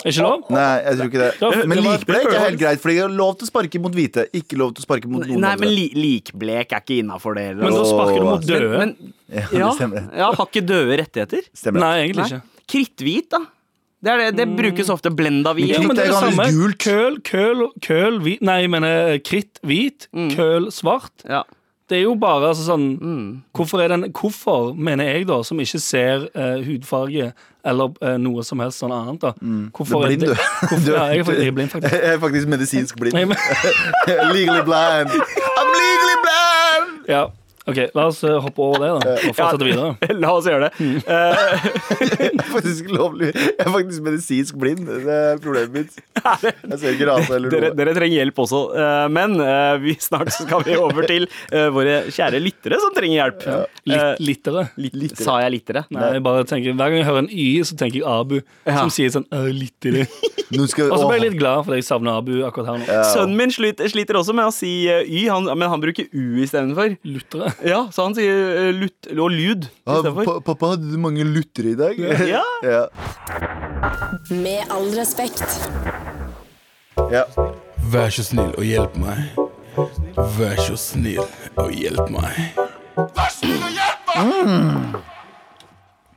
Speaker 3: Ikke lov?
Speaker 2: Nei, jeg tror ikke det.
Speaker 3: Ja,
Speaker 2: Men
Speaker 3: det var-
Speaker 2: likblek er helt greit, for det er lov til å sparke mot hvite. Ikke lov til å sparke mot noen
Speaker 4: Nei, men
Speaker 2: andre.
Speaker 4: li, likblek er ikke innafor det.
Speaker 3: Men
Speaker 4: Eller?
Speaker 3: da sparker du mot døde.
Speaker 4: men,
Speaker 2: Ja, det
Speaker 4: ja,
Speaker 2: stemmer. det.
Speaker 4: ja, har ikke døde rettigheter?
Speaker 2: stemmer.
Speaker 3: Nei,
Speaker 2: det.
Speaker 3: egentlig ikke.
Speaker 4: Kritthvit, da. Det, er det, det brukes ofte blenda hvit.
Speaker 3: Ja,
Speaker 2: Kritt
Speaker 3: men det
Speaker 2: er
Speaker 3: er det
Speaker 2: ganske
Speaker 3: samme.
Speaker 2: gult.
Speaker 3: Køl, køl, køl, hvit Nei, jeg mener eh, kritt, hvit. Køl, svart.
Speaker 4: Mm. Ja. Mm.
Speaker 3: Det er jo bare altså, sånn hvorfor, er den, hvorfor, mener jeg, da, som ikke ser eh, hudfarge eller eh, noe som helst sånn annet, da Hvorfor
Speaker 2: Mm. Du er blind, du.
Speaker 3: Hvorfor,
Speaker 2: Du er-
Speaker 3: ja, jeg er faktisk jeg er blind, faktisk.
Speaker 2: Jeg er faktisk medisinsk blind.
Speaker 3: Nei, men-
Speaker 2: legally blind. I'm legally blind!
Speaker 3: Ja. OK, la oss eh, hoppe over det, da, og fortsette videre.
Speaker 4: La oss gjøre det.
Speaker 2: Jeg er faktisk lovlig Jeg er faktisk medisinsk blind. Det er problemet mitt. Jeg ser ikke rase eller
Speaker 4: Dere,
Speaker 2: noe.
Speaker 4: dere trenger hjelp også, eh, men eh, vi snart så skal vi over til eh, våre kjære lyttere som trenger hjelp. Eh,
Speaker 3: Litt, littere.
Speaker 4: Sa jeg lyttere?
Speaker 3: Nei, jeg bare tenker, Hver gang jeg hører en Y, så tenker jeg Abu,
Speaker 4: Ja.
Speaker 3: som sier sånn «Å, Litt i det.
Speaker 2: Nå skal,
Speaker 3: Og så
Speaker 2: åh.
Speaker 3: ble jeg litt glad, fordi jeg savner Abu akkurat her nå.
Speaker 4: Sønnen min sliter, sliter også med å si eh, Y, han, men han bruker U istedenfor.
Speaker 3: Luttere.
Speaker 4: Ja, så han sier eh, lut, og lyd
Speaker 2: Ah,
Speaker 4: istedenfor.
Speaker 2: pa- Pappa hadde mange luttere i dag.
Speaker 4: Ja.
Speaker 2: ja.
Speaker 5: Med all respekt.
Speaker 2: ja.
Speaker 1: Vær så snill og hjelp meg. Vær så snill og hjelp meg.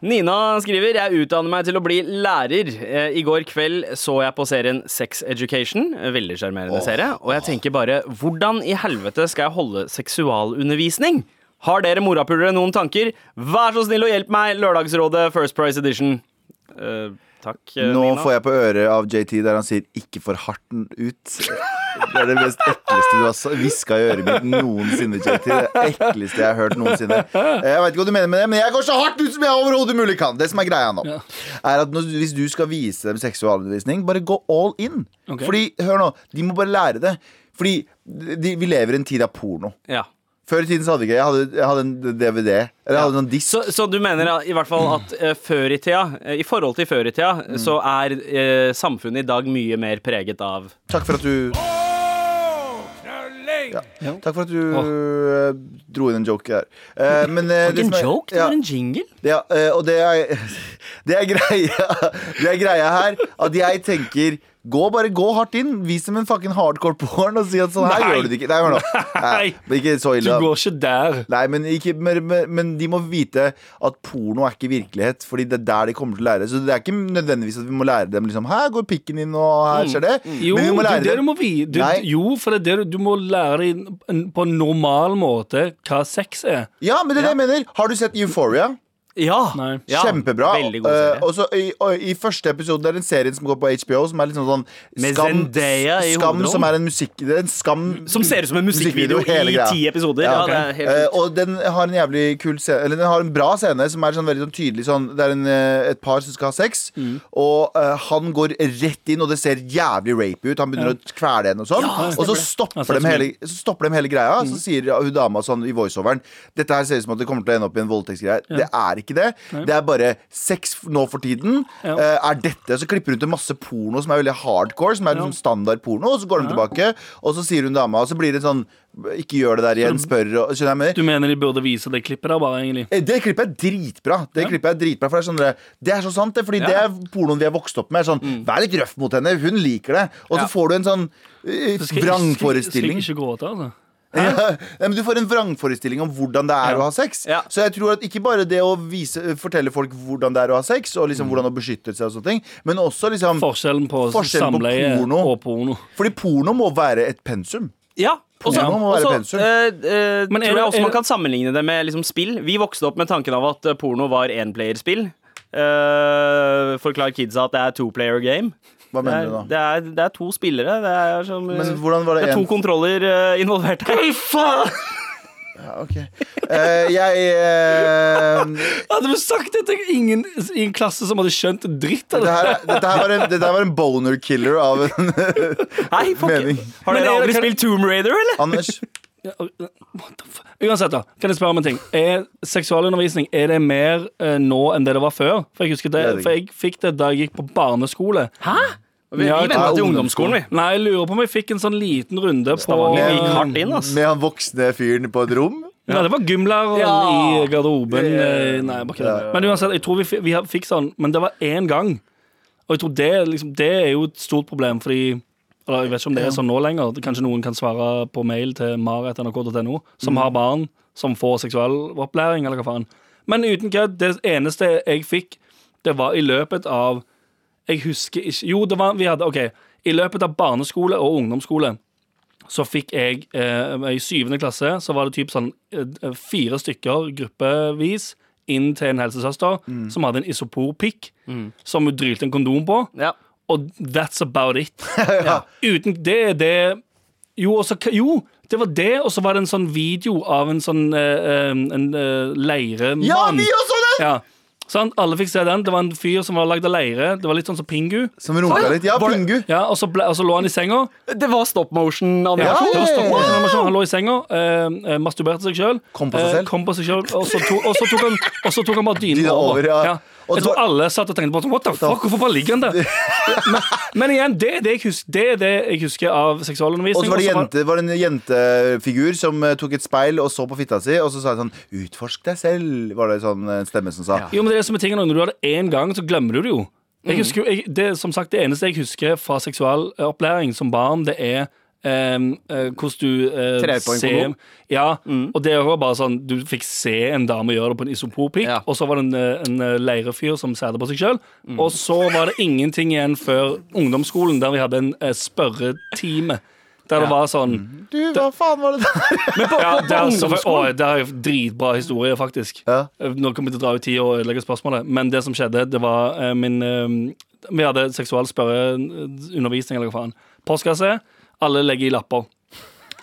Speaker 4: Nina skriver Jeg utdanner meg til å bli lærer. Eh, I går kveld så jeg på serien Sex Education. Eh, Veldig sjarmerende serie. Og jeg tenker bare Hvordan i helvete skal jeg holde seksualundervisning? Har dere morapulere noen tanker? Vær så snill og hjelp meg! Lørdagsrådet First Price Edition. Eh, takk, eh,
Speaker 2: Nå
Speaker 4: Nina.
Speaker 2: får jeg på øret av JT der han sier 'ikke for harten ut'. Det er det mest ekleste du har hviska i øret mitt noensinne, JT. Det ekleste jeg har hørt noensinne. Jeg vet ikke hva du mener med det, men jeg går så hardt ut som jeg overhodet mulig kan. Det som er greia nå, er at når, hvis du skal vise dem seksualundervisning, bare gå all in.
Speaker 3: Ok.
Speaker 2: Fordi, hør nå, de må bare lære det. Fordi de, vi lever i en tid av porno.
Speaker 4: Ja.
Speaker 2: Før i tiden så hadde vi ikke Jeg hadde, jeg hadde en DVD. Eller jeg hadde en disk.
Speaker 4: Så, så du mener ja, i hvert fall at eh, før i tida, eh, i forhold til før i tida,
Speaker 2: Mm.
Speaker 4: så er eh, samfunnet i dag mye mer preget av
Speaker 2: Takk for at du ja. Takk for at du eh, dro inn en joke der. Eh, men, eh, det som er- Ja,
Speaker 4: jingle.
Speaker 2: ja, eh, og det er, det, er greia, det er greia her at jeg tenker Gå bare gå hardt inn. Vis dem en fucking hardcore porn og si at sånn her
Speaker 3: Nei.
Speaker 2: gjør du det ikke. Nei, hør nå. Nei, det er ikke så
Speaker 3: Du
Speaker 2: ille. da.
Speaker 3: går ikke der.
Speaker 2: Nei, men, ikke, men, men- men de må vite at porno er ikke virkelighet, Fordi det er der de kommer til å lære. Så det er ikke nødvendigvis at vi må lære dem liksom Her går pikken din, og her skjer det.
Speaker 3: Mm. Jo,
Speaker 2: men vi må
Speaker 3: det
Speaker 2: lære
Speaker 3: er det du
Speaker 2: dem
Speaker 3: må vi. Du,
Speaker 2: Nei.
Speaker 3: jo, for det er det du, du må lære deg en- på en normal måte hva sex er.
Speaker 2: Ja, men det er det jeg mener. Har du sett Euphoria?
Speaker 4: Ja.
Speaker 3: Nei.
Speaker 4: ja.
Speaker 2: Kjempebra.
Speaker 4: Veldig god serie.
Speaker 2: Eh, og så i, og I første episode er det en serie som går på HBO, som er liksom sånn
Speaker 4: Med
Speaker 2: Skam,
Speaker 4: Zendaya i
Speaker 2: skam
Speaker 4: hovedrollen.
Speaker 2: som er en musikk... Det er en skam
Speaker 4: som ser ut som en musikkvideo
Speaker 2: Musikkvideo, hele
Speaker 4: i
Speaker 2: greia.
Speaker 4: ti episoder. Ja,
Speaker 2: Ja,
Speaker 4: det er helt
Speaker 2: Eh,
Speaker 4: sjukt.
Speaker 2: og den har en jævlig kul scene Eller den har en bra scene som er sånn veldig sånn tydelig sånn Det er en, eh, et par som skal ha sex,
Speaker 4: Mm.
Speaker 2: og eh, han går rett inn, og det ser jævlig rape ut. Han begynner å kvele henne og sånn. og så
Speaker 3: Ja,
Speaker 2: stopper,
Speaker 3: sånn
Speaker 2: de
Speaker 3: som
Speaker 2: hele, så stopper de hele greia. Så
Speaker 3: Mm.
Speaker 2: sier hun dama sånn i voiceoveren Dette her ser ut som at det kommer til å ende opp i en voldtektsgreie. Det er ikke det. Det er bare sex f- nå for tiden.
Speaker 3: Ja.
Speaker 2: eh, er dette Så klipper hun til masse porno som er veldig hardcore, som er liksom standard porno, og så går de tilbake, og så sier hun dama, og så blir det sånn Ikke gjør det der igjen, spør og Skjønner jeg hva jeg mener?
Speaker 3: Du mener de burde vise det klippet der, bare, egentlig?
Speaker 2: Eh, Det klippet er dritbra. Det klippet er dritbra For det er, sånn, dere, det er så sant, det. Fordi det er pornoen vi har vokst opp med. er Sånn,
Speaker 3: Mm.
Speaker 2: Vær litt røff mot henne. Hun liker det. Og så får du en sånn eh,
Speaker 3: Skal-
Speaker 2: vrangforestilling.
Speaker 3: Skal, skal ikke gråte, altså.
Speaker 2: Ja, men du får en vrangforestilling om hvordan det er
Speaker 3: Ja.
Speaker 2: å ha sex.
Speaker 4: Ja.
Speaker 2: Så jeg tror at ikke bare det å vise, fortelle folk hvordan det er å ha sex, og
Speaker 4: Mm.
Speaker 2: liksom hvordan å beskytte seg, og sånne ting men også liksom
Speaker 3: Forskjellen på
Speaker 2: Forskjellen på
Speaker 3: samleie
Speaker 2: porno.
Speaker 3: og porno.
Speaker 2: Fordi porno må være et pensum.
Speaker 4: ja. Og så
Speaker 2: Ja, man må være
Speaker 4: og så,
Speaker 2: pensum.
Speaker 4: eh, eh,
Speaker 3: Men
Speaker 4: tror
Speaker 3: er det-
Speaker 4: jeg også
Speaker 3: er det-
Speaker 4: man kan sammenligne det med liksom, spill. Vi vokste opp med tanken av at eh, porno var enplayerspill. Uh, forklar kidsa at det er two-player game.
Speaker 2: Hva
Speaker 4: Det
Speaker 2: mener
Speaker 4: er,
Speaker 2: du da?
Speaker 4: det, er, det er to spillere. Det er, som, eh,
Speaker 2: Men hvordan var det
Speaker 4: det er
Speaker 2: en-
Speaker 4: to kontroller eh, involvert her.
Speaker 2: Ja, ok. Eh, jeg eh,
Speaker 3: Hadde du sagt det til ingen i en klasse som hadde skjønt dritt av
Speaker 2: det
Speaker 3: det?
Speaker 2: her, Dette her var en, dette her var en boner killer av en
Speaker 4: Hei, fuck.
Speaker 2: Mening.
Speaker 4: Har
Speaker 3: Men er det-
Speaker 4: dere aldri
Speaker 3: kan-
Speaker 4: spilt Tomb Raider, eller?
Speaker 2: Anders.
Speaker 3: Ja, og- what the fuck? Uansett, da. Kan jeg spørre om en ting? Er seksualundervisning er det mer eh, nå enn det det var før? For jeg husker
Speaker 2: Det er
Speaker 3: det,
Speaker 2: det
Speaker 3: for jeg fikk det da jeg gikk på barneskole.
Speaker 4: Hæ? Vi, vi
Speaker 3: Ja,
Speaker 4: venta
Speaker 2: det er
Speaker 4: til ungdomsskolen, vi.
Speaker 3: Nei, jeg lurer på om jeg fikk en sånn liten runde på
Speaker 4: Stavanger
Speaker 2: gikk
Speaker 4: hardt inn, ass.
Speaker 2: Med han voksne fyren på et rom.
Speaker 3: Ja, det var gymlæreren
Speaker 4: Ja.
Speaker 3: i garderoben. eh, Nei, jeg bare kødder. Men uansett, jeg tror vi, fi- vi ha- fikk sånn, men det var én gang. Og jeg tror det, er liksom, det er jo et stort problem, fordi eller jeg vet ikke om det er sånn nå lenger. Kanskje noen kan svare på mail til maret.nrk.no, som har barn som får seksualopplæring, eller hva faen. Men uten kødd, det eneste jeg fikk, det var i løpet av Jeg husker ikke Jo, det var, vi hadde OK. I løpet av barneskole og ungdomsskole så fikk jeg eh, I syvende klasse så var det typ sånn eh, fire stykker gruppevis inn til en helsesøster som hadde en isoporpikk som hun drylte en kondom på.
Speaker 4: Ja.
Speaker 3: Og that's about it. Uten det er det jo, og så, jo, det var det, og så var det en sånn video av en sånn eh, eh, en, eh, leiremann.
Speaker 2: Ja, vi også det!
Speaker 3: Ja. Sant? Alle fikk se den. Det var en fyr som var lagd av leire. Det var litt sånn som Pingu.
Speaker 2: Som runka litt. Ja, Pingu.
Speaker 3: Ja, og, så ble, og så lå han i senga.
Speaker 4: Det var stop motion-animasjon.
Speaker 2: Ja,
Speaker 3: Det var stopp-
Speaker 2: Wow!
Speaker 3: animasjon. Han lå i senga, eh, eh, masturberte seg sjøl.
Speaker 2: Kom på seg selv.
Speaker 3: kom på seg selv og, så to, og, så tok han, og så tok han bare dyna
Speaker 2: Dyna
Speaker 3: over.
Speaker 2: over, ja. Og
Speaker 3: Jeg
Speaker 2: så
Speaker 3: tror
Speaker 2: var-
Speaker 3: alle satt og tenkte på sånn, What the fuck, hvorfor bare ligger han der? Men, men igjen, det er det jeg husker, det er det jeg husker av seksualundervisning.
Speaker 2: Og så var det,
Speaker 3: og så var-
Speaker 2: jente, var det en jentefigur som eh, tok et speil og så på fitta si, og så sa hun sånn 'Utforsk deg selv', var det sånn eh, stemme som sa.
Speaker 3: Jo, men det er det som er tingen, Når du har det én gang, så glemmer du det jo.
Speaker 4: Mm.
Speaker 3: Jeg husker, jo- jeg, det, er som sagt, det eneste jeg husker fra seksualopplæring som barn, det er ehm, eh, hvordan du eh,
Speaker 4: Trer på en kondom. Mm.
Speaker 3: Ja, og det var bare sånn Du fikk se en dame gjøre det på en isoporpikk,
Speaker 4: Ja. Mm.
Speaker 3: og så var det en, eh, en eh, leirefyr som sædde på seg sjøl, og så var det ingenting igjen før ungdomsskolen, der vi hadde en eh, spørretime. Der det var sånn
Speaker 4: Mm.
Speaker 2: Du, hva faen var det der?
Speaker 3: ja, det er, så,
Speaker 4: ungdomsskolen?
Speaker 3: å, det er jo dritbra historie, faktisk.
Speaker 2: Ja.
Speaker 3: Nå kommer vi til å dra ut tid og ødelegge spørsmålet, men det som skjedde, det var eh, min eh, Vi hadde seksual spørreundervisning, eller hva faen. Postkasse. Alle legger i lapper.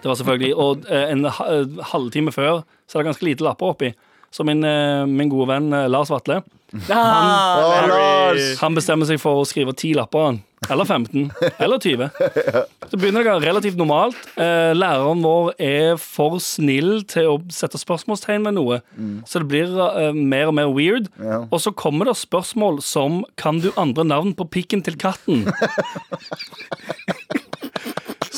Speaker 3: Det var selvfølgelig Og eh, en ha- eh, halvtime før så er det ganske lite lapper oppi. Så min, eh, min gode venn eh, Lars Vatle
Speaker 2: Å, Lars!
Speaker 3: han bestemmer seg for å skrive ti lapper. han. Eller 15. Eller 20. Så begynner det relativt normalt. Eh, læreren vår er for snill til å sette spørsmålstegn ved noe. Så det blir eh, mer og mer weird.
Speaker 2: Ja.
Speaker 3: Og så kommer det spørsmål som Kan du andre navn på pikken til katten?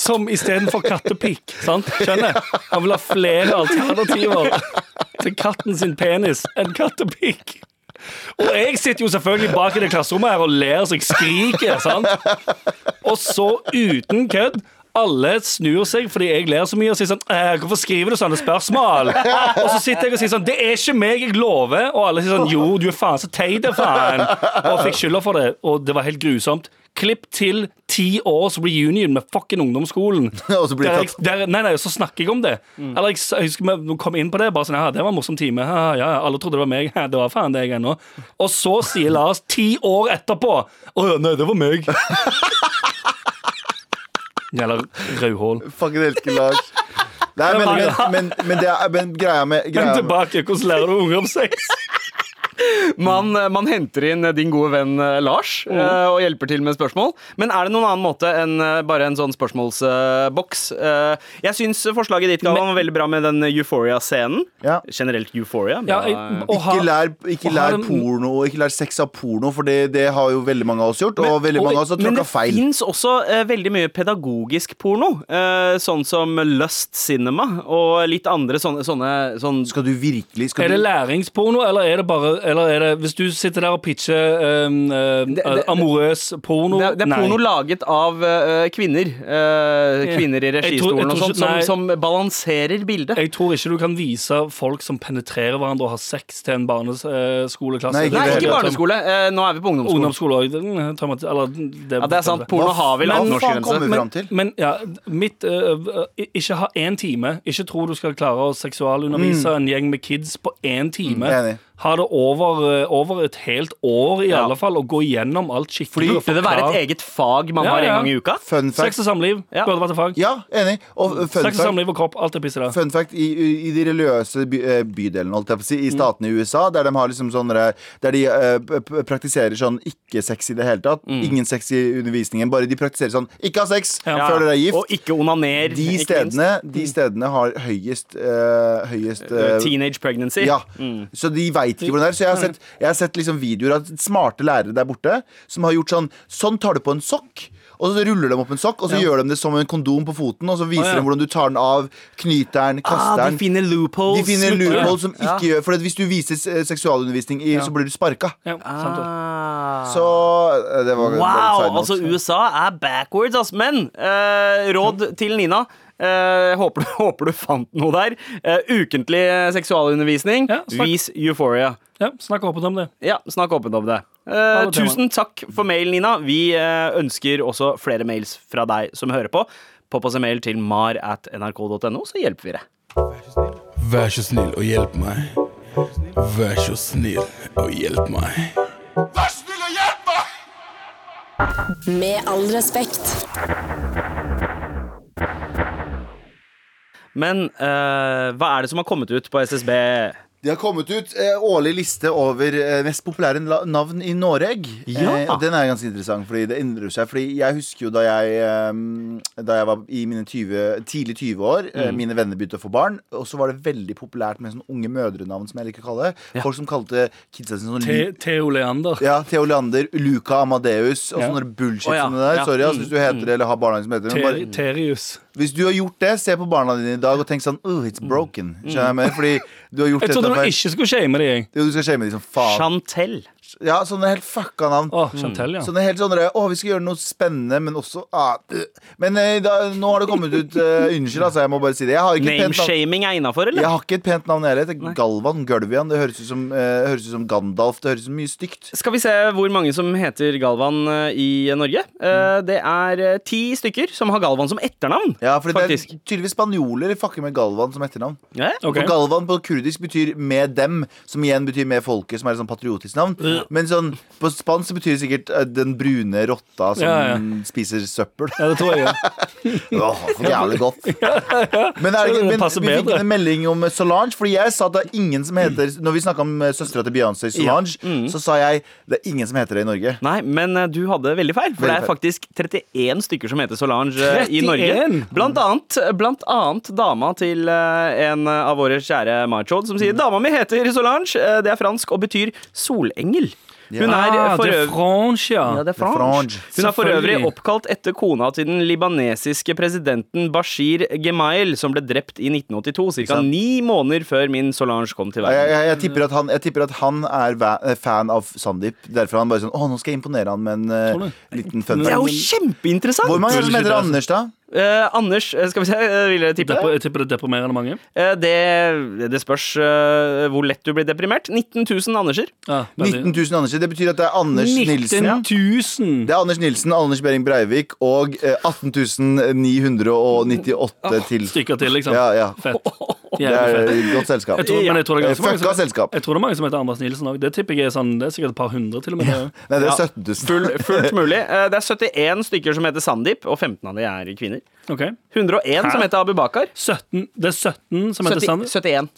Speaker 3: Som istedenfor kattepikk. Sant? Skjønner? Han vil ha flere alternativer til katten sin penis enn kattepikk. Og jeg sitter jo selvfølgelig bak i det klasserommet her og ler så jeg skriker. sant? Og så, uten kødd, alle snur seg fordi jeg ler så mye og sier sånn «Eh, 'Hvorfor skriver du sånne spørsmål?' Og så sitter jeg og sier sånn 'Det er ikke meg, jeg lover.' Og alle sier sånn 'Jo, du er faen så teit, da, faen'. Og fikk skylda for det, og det var helt grusomt. Klipp til ti års reunion med fucking ungdomsskolen.
Speaker 2: Og så blir
Speaker 3: der
Speaker 2: det Mm.
Speaker 3: jeg, der, nei, nei, så snakker jeg om det. Eller jeg, s- jeg husker vi kom inn på det. Bare sånn, ja, det var en morsom time. Ja, ja, ja, alle trodde det var meg. Ja, det var faen det jeg ennå. Og så sier Lars ti år etterpå Å ja, nei, det var meg. Eller rødhål.
Speaker 2: Fucking elsker Lars. Nei, men, men, men, men, det er, men greia med
Speaker 3: Men
Speaker 2: greia med,
Speaker 3: tilbake, hvordan lærer du unger om sex?
Speaker 4: Man, eh, man henter inn din gode venn eh, Lars
Speaker 2: Mm.
Speaker 4: eh, og hjelper til med spørsmål. Men er det noen annen måte enn eh, bare en sånn spørsmålsboks? Eh, Jeg syns forslaget ditt Galvan, var veldig bra med den Euphoria-scenen.
Speaker 2: Ja.
Speaker 4: Generelt Euphoria.
Speaker 3: Ja,
Speaker 4: men-
Speaker 3: jeg, å ha-
Speaker 2: Ikke lær, ikke
Speaker 3: å ha
Speaker 2: lær
Speaker 3: den-
Speaker 2: porno, og ikke lær sex av porno, for det, det har jo veldig mange av oss gjort. Og veldig mange av oss har
Speaker 4: men
Speaker 2: tråkka
Speaker 4: det
Speaker 2: feil.
Speaker 4: fins også eh, veldig mye pedagogisk porno. eh, sånn som Lust Cinema og litt andre sånne, sånne, sånn-
Speaker 2: Skal du virkelig skal
Speaker 3: Er det
Speaker 2: du,
Speaker 3: læringsporno, eller er det bare eller er det, Hvis du sitter der og pitcher øhm, øhm,
Speaker 4: det-
Speaker 3: amorøs porno
Speaker 4: det, er- det er
Speaker 3: nei.
Speaker 4: porno laget av eh, kvinner. eh,
Speaker 3: Ja.
Speaker 4: kvinner i
Speaker 3: Jeg tror- jeg
Speaker 4: registolen og
Speaker 3: tror
Speaker 4: sånt,
Speaker 3: ikke-
Speaker 4: som,
Speaker 3: nei.
Speaker 4: som balanserer bildet.
Speaker 3: Jeg tror ikke du kan vise folk som penetrerer hverandre og har sex til en barneskoleklasse.
Speaker 2: Nei, ikke
Speaker 4: Nei,
Speaker 2: det hele
Speaker 4: ikke
Speaker 2: tatt.
Speaker 4: barneskole. Eh, Nå er vi på ungdomsskole.
Speaker 3: Ungdomsskole mm, òg. Ja,
Speaker 4: Ja, det er sant.
Speaker 2: Hva
Speaker 4: Porno har vel
Speaker 2: faen
Speaker 4: 18-årsgrense.
Speaker 2: kommer vi
Speaker 3: Men,
Speaker 2: fram til?
Speaker 3: men ja, mitt øh, øh, Ikke ha én time. Ikke tro du skal klare å seksualundervise en gjeng med kids på én time.
Speaker 2: Mm. enig.
Speaker 3: ha det over, øh, over et helt år, i alle fall, og gå gjennom alt skikkelig. og
Speaker 4: Burde det være
Speaker 3: forklare-
Speaker 4: et eget fag man
Speaker 3: Ja,
Speaker 4: har en
Speaker 3: ja.
Speaker 4: gang i uka?
Speaker 2: Fun
Speaker 3: Sex
Speaker 2: fact.
Speaker 3: og samliv
Speaker 4: Ja.
Speaker 3: burde vært et fag.
Speaker 2: Ja, enig. Og uh, fun
Speaker 3: Sex og
Speaker 2: fact
Speaker 3: samliv og kropp. Alt er piss i det.
Speaker 2: Fun fact, i, i- i de religiøse by, eh, bydelene, holdt jeg på å si,
Speaker 4: Mm.
Speaker 2: i statene i USA, der de, har liksom sånne, der de eh, p- p- praktiserer sånn ikke-sex i det hele tatt,
Speaker 4: Mm.
Speaker 2: ingen sex i undervisningen, bare de praktiserer sånn ikke ha sex
Speaker 3: Ja.
Speaker 2: før dere er
Speaker 4: Og
Speaker 2: gift.
Speaker 4: ikke onaner.
Speaker 2: De
Speaker 4: ikke Mm.
Speaker 2: stedene, de stedene har høyest, eh, høyest eh,
Speaker 4: minst. Teenage pregnancy.
Speaker 2: ja,
Speaker 4: Mm.
Speaker 2: så de veit ikke hvordan det er. Så jeg har sett, jeg har sett liksom videoer av smarte lærere der borte som har gjort sånn Sånn tar du på en sokk. Og så ruller de opp en sokk, og så gjør de det som en kondom på foten. Og så viser
Speaker 3: ja.
Speaker 2: de hvordan du tar den av, knyter den,
Speaker 4: Ah,
Speaker 2: kaster
Speaker 4: de
Speaker 2: den.
Speaker 4: finner loopholes.
Speaker 2: De finner loophole som ikke
Speaker 4: Ja.
Speaker 2: gjør For at hvis du viser se- seksualundervisning, i, så blir du sparka.
Speaker 3: Ja, sant det.
Speaker 4: Ah.
Speaker 2: Så eh, det var
Speaker 4: Wow!
Speaker 2: var en
Speaker 4: Altså,
Speaker 2: side note.
Speaker 4: USA er backwards, ass. Men eh, råd til Nina. Eh, håper, du- håper du fant noe der. Eh, ukentlig eh, seksualundervisning.
Speaker 3: Ja, snakk.
Speaker 4: Vis Euphoria.
Speaker 3: ja, Snakk åpent om det.
Speaker 4: Ja, snakk åpent om det. Eh,
Speaker 3: det temaet.
Speaker 4: tusen takk for mail, Nina. Vi eh, ønsker også flere mails fra deg som hører på. Popp oss en mail til mar at nrk.no, så hjelper vi deg.
Speaker 1: Vær så snill og hjelp meg. Vær så snill og hjelp meg.
Speaker 5: Med all respekt.
Speaker 4: Men eh, hva er det som har kommet ut på SSB?
Speaker 2: Det har kommet ut eh, årlig liste over eh, mest populære la- navn i Norge.
Speaker 4: Ja.
Speaker 2: Eh, og den er ganske interessant, fordi det endrer seg. Fordi jeg husker jo da jeg, eh, da jeg var i mine 20, tidlig 20 år, eh,
Speaker 4: Mm.
Speaker 2: mine venner begynte å få barn, og så var det veldig populært med sånne unge mødrenavn, som jeg liker å kalle det. Folk som kalte kidsa sine sånn Lu-
Speaker 3: Te- Theo Leander.
Speaker 2: ja, Theo Leander, Luca Amadeus og
Speaker 3: Ja.
Speaker 2: sånne bullshit
Speaker 4: Å, ja.
Speaker 2: som det der.
Speaker 4: Ja.
Speaker 2: Sorry ass, hvis du heter det, eller har barna dine som heter det. men bare-
Speaker 3: Ter Terius.
Speaker 2: Hvis du har gjort det, se på barna dine i dag og tenk sånn Oh, it's broken. Skjønner jeg mer? Fordi du har gjort
Speaker 3: Mm. Jeg
Speaker 2: dette
Speaker 3: trodde du
Speaker 2: før.
Speaker 3: ikke skulle shame det, jeg.
Speaker 2: Jo, du skal shame de som faen.
Speaker 4: Chantel.
Speaker 2: Ja, sånne helt fucka navn.
Speaker 3: Å, Chantel, ja.
Speaker 2: Sånne helt sånne der, Å, vi skal gjøre noe spennende, men også ah, øh. Men eh, da, nå har det kommet ut eh, Unnskyld, altså. Jeg må bare si det. Jeg har ikke et pent navn.
Speaker 4: Nameshaming er innafor,
Speaker 2: Jeg
Speaker 4: eller?
Speaker 2: har ikke et pent navn jeg heter. Galvan Gølvian. Det høres ut som, eh, høres ut som Gandalf. Det høres ut som mye stygt.
Speaker 4: Skal vi se hvor mange som heter Galvan eh, i Norge? Eh, Det er eh, ti stykker som har Galvan som etternavn.
Speaker 2: Mm. Ja, fordi
Speaker 4: Faktisk.
Speaker 2: det er tydeligvis spanjoler fucker med Galvan som etternavn.
Speaker 4: Ja.
Speaker 3: Ok.
Speaker 2: Og Galvan på kurdisk betyr 'med dem', som igjen betyr 'med folket', som er et sånn patriotisk navn. Men sånn, på spansk så betyr det sikkert eh, 'den brune rotta som
Speaker 3: Ja, ja.
Speaker 2: spiser søppel'.
Speaker 3: Ja, det tror jeg. ja.
Speaker 2: Åh, for jævlig godt. Men, er det, ikke-
Speaker 3: Det
Speaker 2: men
Speaker 3: passer
Speaker 2: vi fikk
Speaker 3: bedre.
Speaker 2: en melding om Solange, fordi jeg sa at det er ingen som heter Når vi snakka om eh, søstera til Beyoncé, Solange,
Speaker 3: Mm.
Speaker 2: så sa jeg det er ingen som heter det i Norge.
Speaker 4: Nei, men eh, du hadde veldig feil. For
Speaker 2: Veldig
Speaker 4: det
Speaker 2: feil.
Speaker 4: er faktisk 31 stykker som heter Solange eh, i Norge.
Speaker 3: 31?
Speaker 4: Blant annet, blant annet dama til eh, en av våre kjære Machod, som sier 'dama mi heter Solange'. Eh, Det er fransk og betyr solengel. Hun er
Speaker 3: Ah,
Speaker 4: for
Speaker 3: det er
Speaker 4: øvrig
Speaker 3: Franche, ja.
Speaker 4: Ja, det er
Speaker 2: er
Speaker 4: fransk.
Speaker 2: fransk.
Speaker 4: Hun er for øvrig
Speaker 3: Selvfølgelig.
Speaker 4: oppkalt etter kona til den libanesiske presidenten Bashir Gemail, som ble drept i 1982, ca.
Speaker 2: sant?
Speaker 4: ni måneder før min Solange kom til
Speaker 2: Jeg,
Speaker 4: verden.
Speaker 2: jeg, jeg, tipper at han, jeg tipper at han er va- eh, fan av Sandeep. Derfor er han bare sånn Å, nå skal jeg imponere han med en eh,
Speaker 3: Tror du?
Speaker 2: liten fun
Speaker 4: Det er jo
Speaker 2: fact.
Speaker 4: kjempeinteressant!
Speaker 2: Hvor mange er det som
Speaker 3: Bullshit,
Speaker 2: heter
Speaker 3: altså.
Speaker 2: Anders, da?
Speaker 4: Eh, Anders, eh, skal vi se, eh, vil dere tippe?
Speaker 3: Depre- Jeg tipper det er deprimerende mange.
Speaker 4: Eh, det, det spørs eh, hvor lett du blir deprimert. 19 000 Anderser.
Speaker 3: Ja,
Speaker 2: 19
Speaker 3: Ah, veldig.
Speaker 2: 000 Anderser. Det betyr at det er Anders
Speaker 3: 19
Speaker 2: Nilsen.
Speaker 3: 000!
Speaker 2: Det er Anders Nilsen, Anders Behring Breivik og eh, 18.998 til.
Speaker 3: Stykker til, liksom.
Speaker 2: Ja, ja.
Speaker 3: Fett.
Speaker 2: Det er
Speaker 3: Jævlig fett.
Speaker 2: et godt selskap.
Speaker 3: Jeg tror, men jeg tror det
Speaker 2: Eh,
Speaker 3: er ganske mange
Speaker 2: Fucka
Speaker 3: som,
Speaker 2: selskap.
Speaker 3: jeg tror det er mange som heter Anders Nilsen òg. Det tipper jeg er sånn, det er sikkert et par hundre, til og med. det.
Speaker 2: Nei, det er
Speaker 4: Ja.
Speaker 2: 17 000.
Speaker 4: Full, fullt mulig. Eh, det er 71 stykker som heter Sandeep, og 15 av de er kvinner.
Speaker 3: Ok.
Speaker 4: 101 som heter Abu Bakar.
Speaker 3: 17, det er 17 som heter
Speaker 4: 70,
Speaker 3: Sander.
Speaker 4: 71.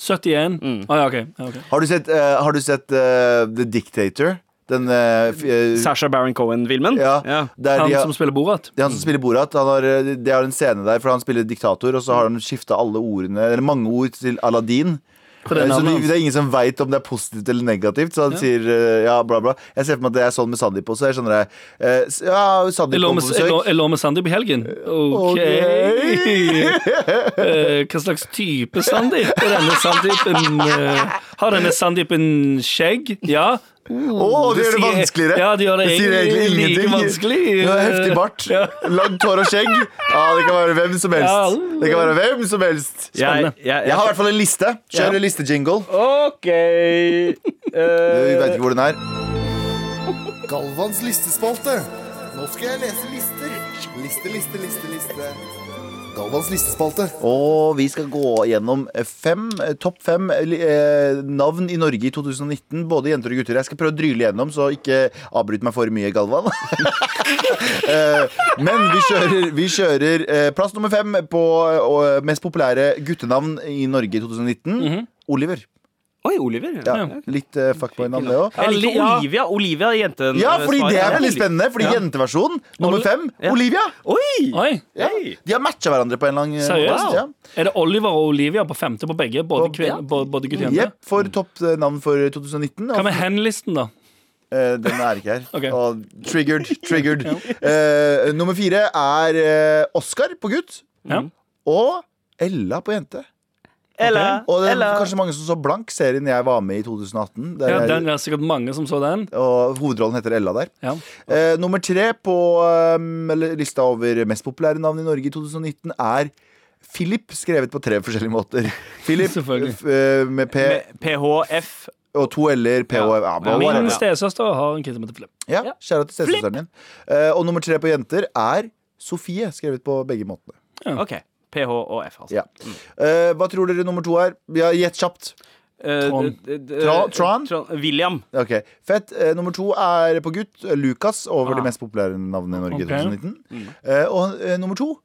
Speaker 3: 71. Ah, ja, ok. Ja, ok.
Speaker 2: Har du sett, eh, har du sett eh, The Dictator? Den eh, f- eh,
Speaker 4: Sasha Baron Cohen-filmen.
Speaker 2: ja, der
Speaker 3: Han
Speaker 2: de har,
Speaker 3: som spiller Borat.
Speaker 2: det er han som spiller Borat. Han har, eh, det er en scene der, for han spiller diktator, og så har han skifta alle ordene, eller mange ord, til Aladdin.
Speaker 3: det er
Speaker 2: Eh, så
Speaker 3: navnet
Speaker 2: de,
Speaker 3: hans.
Speaker 2: det er ingen som veit om det er positivt eller negativt, så han sier eh, ja, bla, bla. Jeg ser for meg at det er sånn med Sandeep også. Jeg skjønner det. Eh, s- ja,
Speaker 3: Jeg
Speaker 2: Sandeep
Speaker 3: lå
Speaker 2: kom
Speaker 3: med,
Speaker 2: på
Speaker 3: jeg lå,
Speaker 2: besøk.
Speaker 3: jeg lå med Sandeep i helgen. OK Eh, Hva slags type Sandeep? Er denne Sandeepen eh, Har denne Sandeepen skjegg? Ja.
Speaker 2: Å, det gjør det
Speaker 3: sier-
Speaker 2: vanskeligere!
Speaker 3: Ja, det gjør det
Speaker 2: sier
Speaker 3: egentlig like vanskelig.
Speaker 2: Du har heftig bart, langt hår og skjegg. Ja, det kan være hvem som
Speaker 3: Ja.
Speaker 2: helst. Det kan være hvem som helst.
Speaker 4: Jeg, jeg, jeg,
Speaker 2: Jeg har i hvert fall en liste. Kjør en listejingle.
Speaker 4: OK
Speaker 2: Du
Speaker 4: eh,
Speaker 2: vet ikke hvor den er. Galvans listespalte. Nå skal jeg lese lister. Liste, liste, liste, liste. Galvans listespalte. Og vi skal gå gjennom fem, eh, topp fem eh, navn i Norge i 2019. Både jenter og gutter. Jeg skal prøve å dryle gjennom, så ikke avbryt meg for mye, Galvan. Eh, Men vi kjører, vi kjører eh, plass nummer fem på eh, mest populære guttenavn i Norge i 2019. Oliver.
Speaker 4: Oi, Oliver.
Speaker 2: Ja, litt eh, fuckboy-navn, det òg.
Speaker 4: Jeg liker
Speaker 3: Ja.
Speaker 4: Olivia. Olivia er
Speaker 3: Mm.
Speaker 4: jenten.
Speaker 2: Ja,
Speaker 4: eh,
Speaker 2: fordi
Speaker 4: svar.
Speaker 2: det er veldig
Speaker 4: Jeg liker-
Speaker 2: spennende. Fordi jenteversjonen, nummer fem,
Speaker 4: Ja.
Speaker 2: Olivia.
Speaker 4: Oi!
Speaker 3: Oi.
Speaker 2: Ja. De har matcha hverandre på en eller annen
Speaker 3: Seriøst?
Speaker 2: måte. Ja.
Speaker 3: Er det Oliver og Olivia på femte på begge? Både,
Speaker 2: På-
Speaker 3: kvin-
Speaker 2: ja.
Speaker 3: bo- både gutt og jente? Mm.
Speaker 2: Jepp, for topp eh, navn for 2019.
Speaker 3: Hva
Speaker 2: Og,
Speaker 3: med hen-listen, da?
Speaker 2: eh, den er ikke her.
Speaker 3: Ok.
Speaker 2: Og triggered. triggered. Eh, nummer fire er eh, Oscar på gutt
Speaker 3: Ja.
Speaker 2: og Ella på jente.
Speaker 4: Ella.
Speaker 2: Og det er
Speaker 4: Ella.
Speaker 2: kanskje mange som så blank serien jeg var med i i 2018. Der,
Speaker 3: ja,
Speaker 2: jeg-
Speaker 3: den er sikkert mange som så den.
Speaker 2: Og hovedrollen heter Ella der.
Speaker 3: Ja.
Speaker 2: Eh, nummer tre på eh, eller lista over mest populære navn i Norge i 2019 er Philip, skrevet på tre forskjellige måter. Philip
Speaker 3: Selvfølgelig.
Speaker 2: f- eh, med P
Speaker 4: Med PHF.
Speaker 2: og to L-er, P og ja,
Speaker 4: Ja,
Speaker 2: whatever.
Speaker 3: Min stesøster har en kid som heter Philip.
Speaker 2: ja, Kjære til stesøsteren din. Eh, og nummer tre på jenter er Sofie, skrevet på begge måtene.
Speaker 4: OK. PH og F, altså.
Speaker 2: Ja. Eh, hva tror dere nummer to er? Ja, Gjett kjapt.
Speaker 4: Eh,
Speaker 3: Tron.
Speaker 4: d- d-
Speaker 2: Tron- Tron?
Speaker 4: William.
Speaker 2: Ok, Fett. Eh, nummer to er på gutt. Lukas over
Speaker 4: Ah. Mm.
Speaker 2: de mest populære navnene i Norge i
Speaker 3: Ok.
Speaker 2: 2019. Eh, og eh, nummer to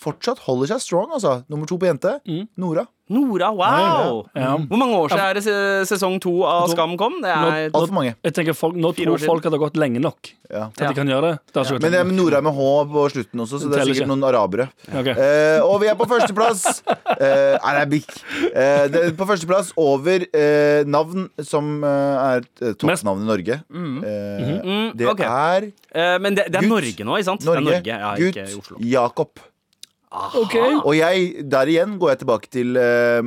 Speaker 2: fortsatt holder seg strong, altså. Nummer to på jente,
Speaker 4: Mm.
Speaker 2: Nora.
Speaker 4: Nora, wow!
Speaker 3: Ja.
Speaker 2: Mm.
Speaker 4: Hvor mange år siden er det se- sesong to av Skam kom? Det er
Speaker 2: Altfor mange.
Speaker 3: Jeg tenker folk, Nå
Speaker 4: Fire år
Speaker 3: tror
Speaker 4: siden.
Speaker 3: folk at det har gått lenge nok
Speaker 2: Ja.
Speaker 3: til at de kan gjøre det. Det har ikke gått
Speaker 2: Men det
Speaker 3: lenge
Speaker 2: er Nora med H på slutten også, så det er
Speaker 3: Teller
Speaker 2: sikkert
Speaker 3: ikke.
Speaker 2: noen arabere.
Speaker 3: Ok.
Speaker 2: Eh, og vi er på førsteplass. Eh, Arabic. Eh, det er på førsteplass over eh, navn som eh, er eh, toppnavn i Norge. Eh, det
Speaker 4: Mm. Mhm. ok.
Speaker 2: er
Speaker 4: Eh, men det, det er
Speaker 2: Gutt.
Speaker 4: Norge nå, ikke sant?
Speaker 2: Norge,
Speaker 4: Det er Norge, ja, ikke
Speaker 2: gutt,
Speaker 4: Oslo.
Speaker 2: Jakob. eh,
Speaker 3: Ok.
Speaker 2: Og jeg, der igjen går jeg tilbake til eh,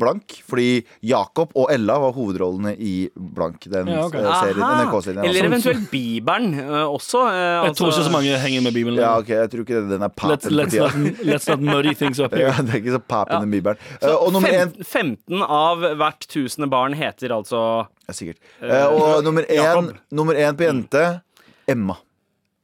Speaker 2: Blank, fordi Jakob og Ella var hovedrollene i Blank. Den
Speaker 3: Ja, ok.
Speaker 2: eh, serien,
Speaker 4: Aha.
Speaker 2: NRK-serien.
Speaker 3: Sånn.
Speaker 2: altså.
Speaker 4: Eller eventuelt Bibelen eh, også. eh,
Speaker 3: Jeg tror
Speaker 4: altså-
Speaker 3: ikke så mange henger med Bibelen.
Speaker 2: Ja,
Speaker 3: lenger.
Speaker 2: ok, jeg tror ikke det, den er papen
Speaker 3: let's, let's,
Speaker 2: for
Speaker 3: not,
Speaker 2: tida.
Speaker 3: let's not muddy things up here.
Speaker 2: Ja, det er ikke så papen i Bibelen. Eh, og nummer én
Speaker 4: Fem, 15 av hvert tusende barn heter altså
Speaker 2: Ja, sikkert. Eh, og nummer én,
Speaker 4: Jakob.
Speaker 2: nummer én på jente Emma.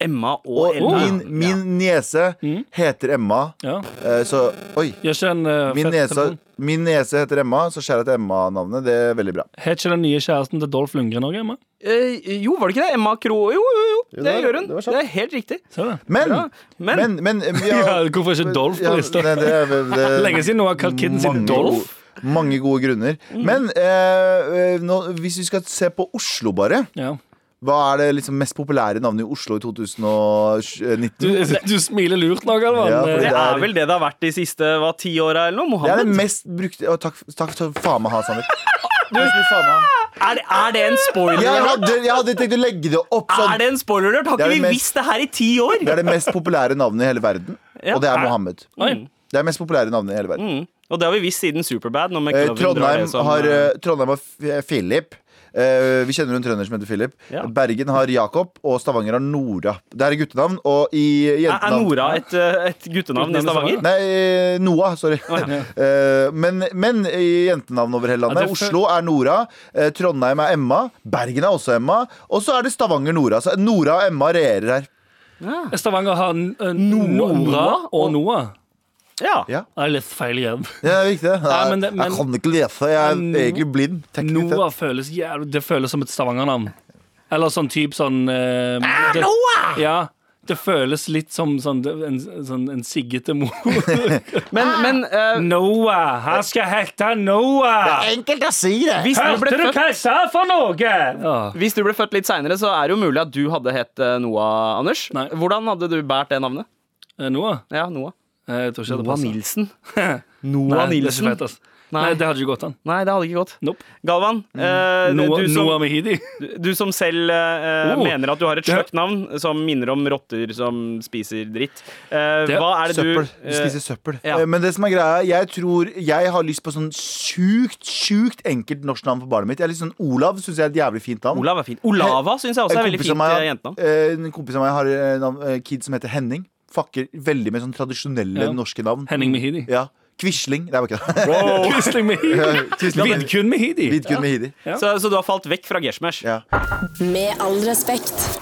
Speaker 4: Emma og,
Speaker 2: Og
Speaker 4: Ella.
Speaker 2: min, min niese heter Emma,
Speaker 3: Ja.
Speaker 2: eh, så Oi.
Speaker 3: Gjør ikke den eh,
Speaker 2: Min
Speaker 3: fett
Speaker 2: niese,
Speaker 3: telefon.
Speaker 2: min niese heter Emma, så skjær til Emma-navnet. Det er veldig bra.
Speaker 3: Het ikke den nye kjæresten til Dolph Lundgren òg, Emma?
Speaker 4: Eh, jo, var det ikke det? Emma Kro... Jo, jo, jo, det,
Speaker 2: det-
Speaker 4: gjør hun.
Speaker 2: det var
Speaker 4: Det,
Speaker 2: sant.
Speaker 4: er helt riktig.
Speaker 3: Ser du det?
Speaker 2: Men,
Speaker 4: Ja, men-
Speaker 2: men, men eh,
Speaker 3: Ja, hvorfor er ikke Dolph på lista?
Speaker 2: det- det er- det er-
Speaker 3: Lenge siden noen har kalt kiden sin
Speaker 2: mange
Speaker 3: Dolph.
Speaker 2: gode- Mange gode grunner. Men eh, eh, nå, hvis vi skal se på Oslo, bare.
Speaker 3: Ja.
Speaker 2: Hva er det liksom mest populære navnet i Oslo i
Speaker 3: Du, eh,
Speaker 2: 2019?
Speaker 3: du smiler lurt nå, Galvan.
Speaker 2: Ja, fordi
Speaker 4: Det
Speaker 2: det er-
Speaker 4: er vel det det har vært de siste hva, ti åra eller noe?
Speaker 2: Det er det
Speaker 4: Mohammed?
Speaker 2: mest brukte Å, Takk, takk for faen meg ha, Sander. Takk for faen meg ha.
Speaker 4: Er, det- er det en spoiler?
Speaker 2: Jeg hadde, jeg hadde tenkt å legge det opp
Speaker 4: Er
Speaker 2: sånn.
Speaker 4: det en spoiler? Har
Speaker 2: Det er
Speaker 4: ikke
Speaker 2: det
Speaker 4: vi
Speaker 2: mest-
Speaker 4: visst det her i ti år?
Speaker 2: Det er det mest populære navnet i hele verden,
Speaker 4: Ja.
Speaker 2: og det er
Speaker 4: Er-
Speaker 2: Mohammed.
Speaker 3: Oi.
Speaker 2: Det er mest populære navnet i hele verden.
Speaker 4: Mm. Og det har vi visst siden Superbad. Når
Speaker 2: Eh,
Speaker 4: McLovin drar
Speaker 2: Trondheim
Speaker 4: det som,
Speaker 2: har,
Speaker 4: eh,
Speaker 2: eh, Trondheim har F- Philip. Eh, vi kjenner en trønder som heter Philip.
Speaker 4: Ja.
Speaker 2: Bergen har Jakob, og Stavanger har Nora. Det er guttenavn, og i
Speaker 4: Er er
Speaker 2: jentenavn
Speaker 4: Nora et, eh, et guttenavn i Stavanger?
Speaker 2: Nei, eh, Noah, sorry. Eh, men, men i jentenavn over hele
Speaker 3: Ja,
Speaker 2: landet.
Speaker 3: det er for-
Speaker 2: Oslo er Nora, eh, Trondheim er Emma, Bergen er også Emma, og så er det Stavanger Nora. Så Nora og Emma regjerer her.
Speaker 3: Stavanger har N- eh, Nora og Noah.
Speaker 4: Ja.
Speaker 2: Ja.
Speaker 3: Jeg har lest feil igjen.
Speaker 2: Ja, det er viktig. Jeg,
Speaker 3: Ja, men det- men-
Speaker 2: jeg kan ikke lese. Jeg er
Speaker 3: Men-
Speaker 2: egentlig blind. teknisk sett.
Speaker 3: Noah føles jævlig Det føles som et Stavanger-navn. Eller sånn type sånn eh,
Speaker 4: Ah,
Speaker 3: det- Ja. Det føles litt som sånn, en, sånn, en siggete mor.
Speaker 2: Ah.
Speaker 4: Men, men eh,
Speaker 3: Noah! Han skal hete Noah!
Speaker 2: Enkelt å si det.
Speaker 4: hvis du ble født
Speaker 3: jeg sa for noe?!
Speaker 4: hvis du ble født litt seinere, så er det jo mulig at du hadde hett eh, Noah, Anders.
Speaker 3: Nei.
Speaker 4: Hvordan hadde du båret det navnet?
Speaker 3: Noah?
Speaker 4: Ja, Noah.
Speaker 3: Eh, Jeg tror ikke det
Speaker 4: Noah
Speaker 3: passer.
Speaker 4: Nilsen.
Speaker 3: Nei,
Speaker 4: Noah
Speaker 3: det er ikke
Speaker 4: Nilsen.
Speaker 3: fett, ass.
Speaker 4: Nei.
Speaker 3: Nei, det hadde ikke gått an.
Speaker 4: Nei, det hadde ikke gått.
Speaker 3: Nope.
Speaker 4: Galvan, eh,
Speaker 3: Noah,
Speaker 4: du, som,
Speaker 3: Noah Mehidi.
Speaker 4: du som selv eh,
Speaker 3: Oh.
Speaker 4: mener at du har et
Speaker 3: Det-
Speaker 4: sløkt navn som minner om rotter som spiser dritt, eh,
Speaker 3: Det-
Speaker 4: hva er det
Speaker 2: Søppel.
Speaker 4: du
Speaker 2: Du spiser søppel.
Speaker 4: ja.
Speaker 2: Eh, Men det som er greia, jeg tror jeg har lyst på sånn sjukt, sjukt enkelt norsk navn på barnet mitt. Jeg er litt sånn Olav syns jeg er et jævlig fint navn.
Speaker 4: Olav er fint. Olava syns jeg også er veldig
Speaker 2: kompis av
Speaker 4: fint
Speaker 2: meg-
Speaker 4: eh, jentenavn.
Speaker 2: eh, En kompis av meg har eh, navn- eh, kid som heter Henning. Fucker veldig med sånn tradisjonelle
Speaker 3: Ja.
Speaker 2: norske navn.
Speaker 3: Henning Mehidi.
Speaker 2: Ja. Quisling. Nei, det var ikke det.
Speaker 3: Quisling Mehidi.
Speaker 2: Quisling.
Speaker 3: Vidkun Mehidi.
Speaker 2: Vidkun Mehidi.
Speaker 3: Ja.
Speaker 4: Så, så du har falt vekk fra Gershmesh?
Speaker 2: Ja.
Speaker 5: Med all respekt.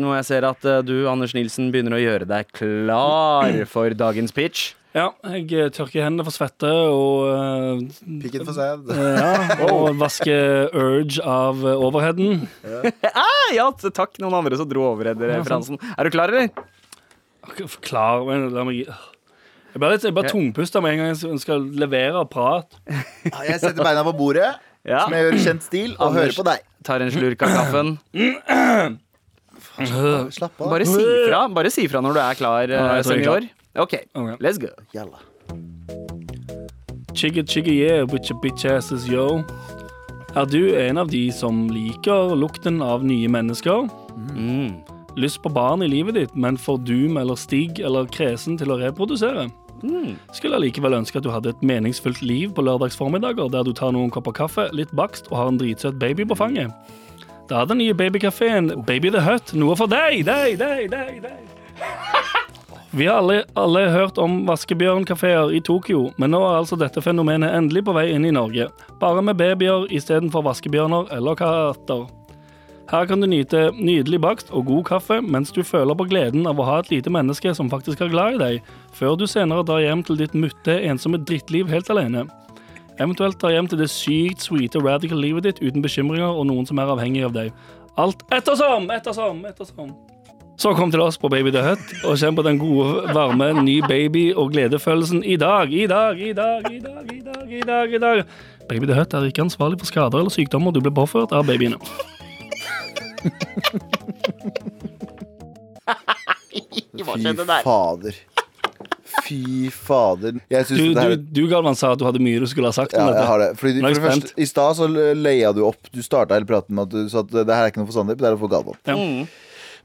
Speaker 4: Nå jeg ser at eh, du, Anders Nilsen, begynner å gjøre deg klar for dagens pitch.
Speaker 3: Ja, jeg eh, tørker hendene for svette og eh,
Speaker 2: Pikken for seg.
Speaker 3: Eh, Ja, og vaske Urge av eh, overheaden.
Speaker 4: Ah, ja, t- takk, noen andre som dro over etter referansen. Er du klar, eller?
Speaker 3: Ok, Forklar men la meg Jeg bare, jeg bare tungpuster med en gang jeg skal levere og prate.
Speaker 2: Ja, Jeg setter beina på bordet,
Speaker 4: Ja.
Speaker 2: som jeg gjør i kjent stil, og hører
Speaker 4: Anders.
Speaker 2: på deg.
Speaker 4: Tar en slurk av kaffen.
Speaker 2: Slapp av.
Speaker 4: Bare si fra, bare si fra når du er klar, eh,
Speaker 3: Ja, jeg tror jeg er
Speaker 4: senior. OK,
Speaker 3: Ok.
Speaker 4: let's go.
Speaker 3: Chigga chigga yeah with your bitch asses yo. Er du en av de som liker lukten av nye mennesker? Lyst på barn i livet ditt, men for dum eller stig eller kresen til å reprodusere? Skulle allikevel ønske at du hadde et meningsfullt liv på lørdagsformiddager, der du tar noen kopper kaffe, litt bakst og har en dritsøt baby på fanget. Da er den nye babykafeen Baby the Hut noe for deg, deg, deg, deg, deg. Vi har alle, alle hørt om vaskebjørnkafeer i Tokyo, men nå er altså dette fenomenet endelig på vei inn i Norge. Bare med babyer istedenfor vaskebjørner eller katter. Her kan du nyte nydelig bakst og god kaffe mens du føler på gleden av å ha et lite menneske som faktisk er glad i deg, før du senere drar hjem til ditt mutte, ensomme drittliv helt alene. Eventuelt drar hjem til det sykt sweete radical livet ditt uten bekymringer og noen som er avhengig av deg. Alt ettersom, ettersom, ettersom. Så kom til oss på Baby the Hut, og kjenn på den gode, varme, ny baby- og gledefølelsen i dag, i dag, i dag, i dag, i dag, i dag. i dag. Baby the Hut er ikke ansvarlig for skader eller sykdommer du ble påført av babyene.
Speaker 2: Fy fader. Fy fader. Jeg synes
Speaker 3: Du,
Speaker 2: det her
Speaker 3: du, du Galvan, sa at du hadde mye du skulle ha sagt
Speaker 2: ja,
Speaker 3: om dette.
Speaker 2: jeg har det. Fordi,
Speaker 3: Nå er
Speaker 2: for
Speaker 3: jeg
Speaker 2: det første,
Speaker 3: spent.
Speaker 2: I stad så leia du opp. Du starta hele praten med at du sa at det her er ikke noe for Sandeep, det er noe for Galvan.
Speaker 3: Ja.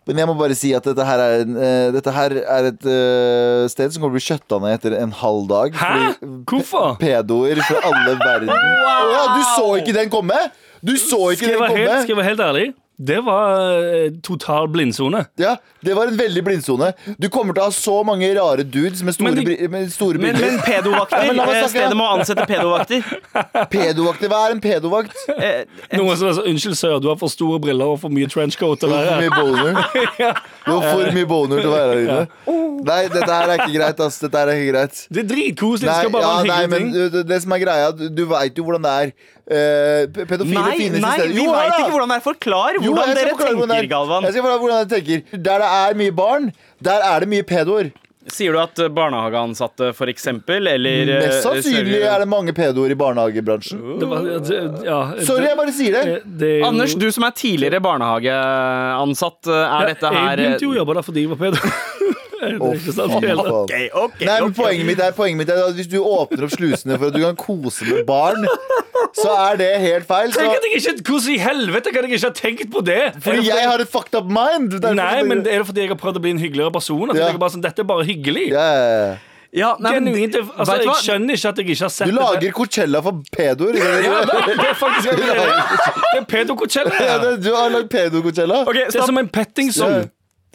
Speaker 2: Men jeg må bare si at dette her er, en, eh, dette her er et eh, sted som kommer til å bli skjøtta ned etter en halv dag.
Speaker 3: Hæ?
Speaker 2: fordi
Speaker 3: Hvorfor?
Speaker 2: Pedoer fra alle verden. Å ja, du så ikke den komme? Du så ikke
Speaker 3: Skal jeg
Speaker 2: den
Speaker 3: være
Speaker 2: komme?
Speaker 3: helt, skal jeg være helt ærlig? Det var eh, total blindsone.
Speaker 2: Ja, Det var en veldig blindsone. Du kommer til å ha så mange rare dudes med store,
Speaker 3: Men de-
Speaker 2: bri- med store
Speaker 4: Men,
Speaker 2: briller.
Speaker 4: men pedovakter.
Speaker 2: Ja, men la meg
Speaker 4: eh,
Speaker 2: snakke, da.
Speaker 4: Stedet må ansette pedovakter.
Speaker 2: Pedovakter. Hva er en pedovakt?
Speaker 4: Eh,
Speaker 3: Noen som er så, Unnskyld, sir, du har for store briller og for mye trenchcoat.
Speaker 2: Du
Speaker 3: Eller?
Speaker 2: har for mye boner. Du har for mye boner til å være her inne. Nei, dette her er ikke greit, ass. Dette her er ikke greit.
Speaker 3: Det er dritkoselig. Det
Speaker 2: Nei,
Speaker 3: skal bare
Speaker 2: ja,
Speaker 3: være en
Speaker 2: nei,
Speaker 3: hyggelig
Speaker 2: men
Speaker 3: ting.
Speaker 2: du- du- det som er greia, du, du veit jo hvordan det er. Eh, pe- pedofile
Speaker 4: Nei,
Speaker 2: finnes
Speaker 4: nei,
Speaker 2: i stedet.
Speaker 4: vi
Speaker 2: Jo, her
Speaker 4: veit
Speaker 2: da.
Speaker 4: ikke hvordan det er. Forklar
Speaker 2: Jo,
Speaker 4: hvordan
Speaker 2: jeg skal
Speaker 4: dere
Speaker 2: forklare hvordan det
Speaker 4: tenker,
Speaker 2: er.
Speaker 4: Galvan.
Speaker 2: Jeg skal forklare hvordan jeg tenker. Der det er mye barn, der er det mye pedoer.
Speaker 4: Sier du at eh, barnehageansatte, for eksempel, eller eh,
Speaker 2: Mest sannsynlig
Speaker 4: ser du-
Speaker 2: er det mange pedoer i barnehagebransjen.
Speaker 3: Det var, det- ja,
Speaker 2: Sorry, jeg
Speaker 3: det-
Speaker 2: bare sier
Speaker 4: Eh,
Speaker 2: det.
Speaker 3: det- det er jo-
Speaker 4: Anders, du som er tidligere barnehageansatt, eh, er dette
Speaker 3: Jeg
Speaker 4: her eh,
Speaker 3: begynte jo å jobbe der fordi jeg var pedo. det er ikke sant. det hele.
Speaker 2: faen.
Speaker 4: Ok, ok,
Speaker 2: Nei, men
Speaker 4: eh, ok.
Speaker 2: poenget mitt er, poenget mitt er at hvis du åpner opp slusene for at du kan kose med barn, så er det helt feil. Så,
Speaker 3: Tenk at jeg ikke, Hvordan i helvete kan jeg ikke ha tenkt på det? Er det
Speaker 2: fordi jeg har et fucked up mind. Derfor-
Speaker 3: Nei, men Er det fordi jeg har prøvd å bli en hyggeligere person? At
Speaker 2: Ja.
Speaker 3: jeg er bare sånn, Dette er bare hyggelig.
Speaker 2: ja, ja, ja.
Speaker 4: ja, nei, men,
Speaker 3: Genuint, det- altså,
Speaker 4: vet du
Speaker 3: jeg
Speaker 4: hva?
Speaker 3: skjønner ikke at jeg ikke har sett
Speaker 2: Du lager Coachella for pedoer.
Speaker 3: Ja, det, det er faktisk det er, det er pedo Coachella.
Speaker 2: Ja,
Speaker 3: her.
Speaker 2: det- Du har lagd pedo-Coachella.
Speaker 4: Ok,
Speaker 3: Det er
Speaker 4: stopp.
Speaker 3: som en pettingsong.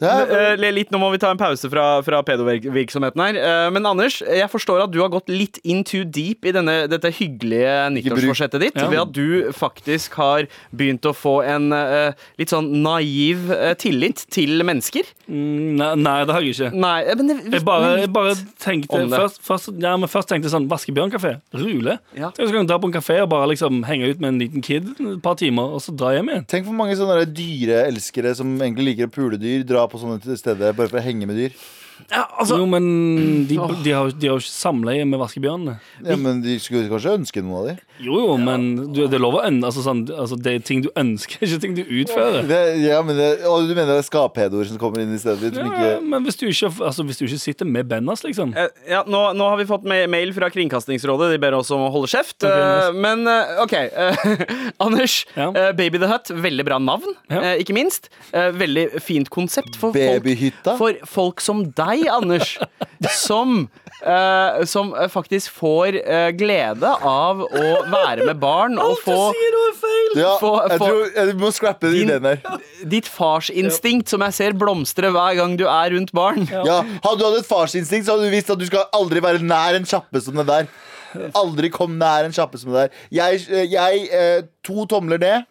Speaker 2: Ja.
Speaker 4: Eh, le litt, nå må vi ta en pause fra, fra pedovirksomheten her. Eh, men Anders, jeg forstår at du har gått litt in too deep i denne, dette hyggelige nyttårsforsettet ditt.
Speaker 3: Ja.
Speaker 4: Ved at du faktisk har begynt å få en eh, litt sånn naiv eh, tillit til mennesker.
Speaker 3: Mm, Nei, nei, det har jeg ikke.
Speaker 4: Nei, eh, men det,
Speaker 3: Jeg bare, jeg bare tenkte
Speaker 4: om det.
Speaker 3: først, først, ja, men først tenkte jeg sånn Vaskebjørnkafé. Rule.
Speaker 4: Ja.
Speaker 3: Tenk Så kan jeg dra på en kafé og bare liksom henge ut med en liten kid et par timer, og så dra hjem igjen.
Speaker 2: Tenk for mange sånne der dyreelskere som egentlig liker å pule dyr, dra på sånne til steder bare for å henge med dyr.
Speaker 3: jo, men de, de, har, de har jo ikke samleie med vaskebjørnene.
Speaker 2: Ja, men De skulle kanskje ønske noen av de.
Speaker 3: Jo, jo, men du, det er lov å ønske altså, sånn, altså, Det er ting du ønsker, ikke ting du utfører.
Speaker 2: Det, ja, men det, og du mener det er skaphedoer som kommer inn i stedet ditt? Som
Speaker 3: Ja,
Speaker 2: ikke,
Speaker 3: men hvis du, ikke, altså, hvis du ikke sitter med Bennas, liksom
Speaker 4: Eh, Ja, nå, nå har vi fått ma- mail fra Kringkastingsrådet. De ber oss om å holde kjeft.
Speaker 3: nice.
Speaker 4: Eh, Men eh, OK. eh, Anders,
Speaker 3: Ja.
Speaker 4: eh, Baby the Hut, veldig bra navn,
Speaker 3: Ja.
Speaker 4: eh, ikke minst. Eh, Veldig fint konsept for
Speaker 2: Babyhytta?
Speaker 4: folk, for folk som deg, Anders. Som, eh, som eh, faktisk får eh, glede av å være med barn og få
Speaker 3: nå er feil!
Speaker 2: ja,
Speaker 4: Få-
Speaker 2: jeg
Speaker 4: få-
Speaker 2: tror jeg må scrappe den ideen der.
Speaker 4: ditt farsinstinkt, som jeg ser blomstre hver gang du er rundt barn.
Speaker 2: Ja, hadde du hatt et farsinstinkt, så hadde du visst at du skal aldri være nær en kjappe som den der. Aldri kom nær en kjappe som den der. Jeg, jeg eh, To tomler ned.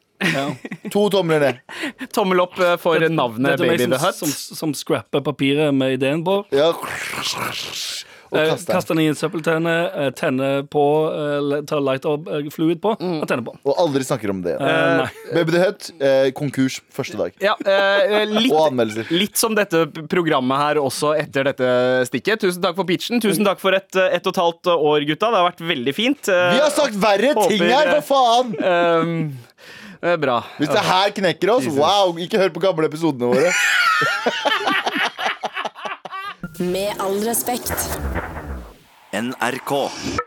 Speaker 2: To tomler ned.
Speaker 4: Tommel opp eh, for navnet
Speaker 3: Dette er meg
Speaker 4: Baby
Speaker 3: som,
Speaker 4: the Hut.
Speaker 3: som, som scrapper papiret med ideen på.
Speaker 2: Ja. Og
Speaker 3: Eh,
Speaker 2: kast den.
Speaker 3: Kaster den i en søppeltenne, eh, tenner på, eh, le- tar lighter eh, fluid på og tenner på.
Speaker 2: Og aldri snakker om det.
Speaker 3: Eh,
Speaker 2: igjen.
Speaker 3: nei.
Speaker 2: Baby the Hut, eh, konkurs første dag.
Speaker 4: Ja, eh, litt,
Speaker 2: Og anmeldelser.
Speaker 4: litt som dette programmet her også etter dette stikket. Tusen takk for pitchen. Tusen takk for et, eh, ett og et halvt år, gutta. Det har vært veldig fint. Eh,
Speaker 2: Vi har sagt verre ting
Speaker 4: Håper-
Speaker 2: her, hva faen!
Speaker 4: ehm, eh, Bra.
Speaker 2: Hvis det her knekker oss, wow! Ikke hør på gamle episodene våre.
Speaker 5: Med all respekt.
Speaker 6: NRK.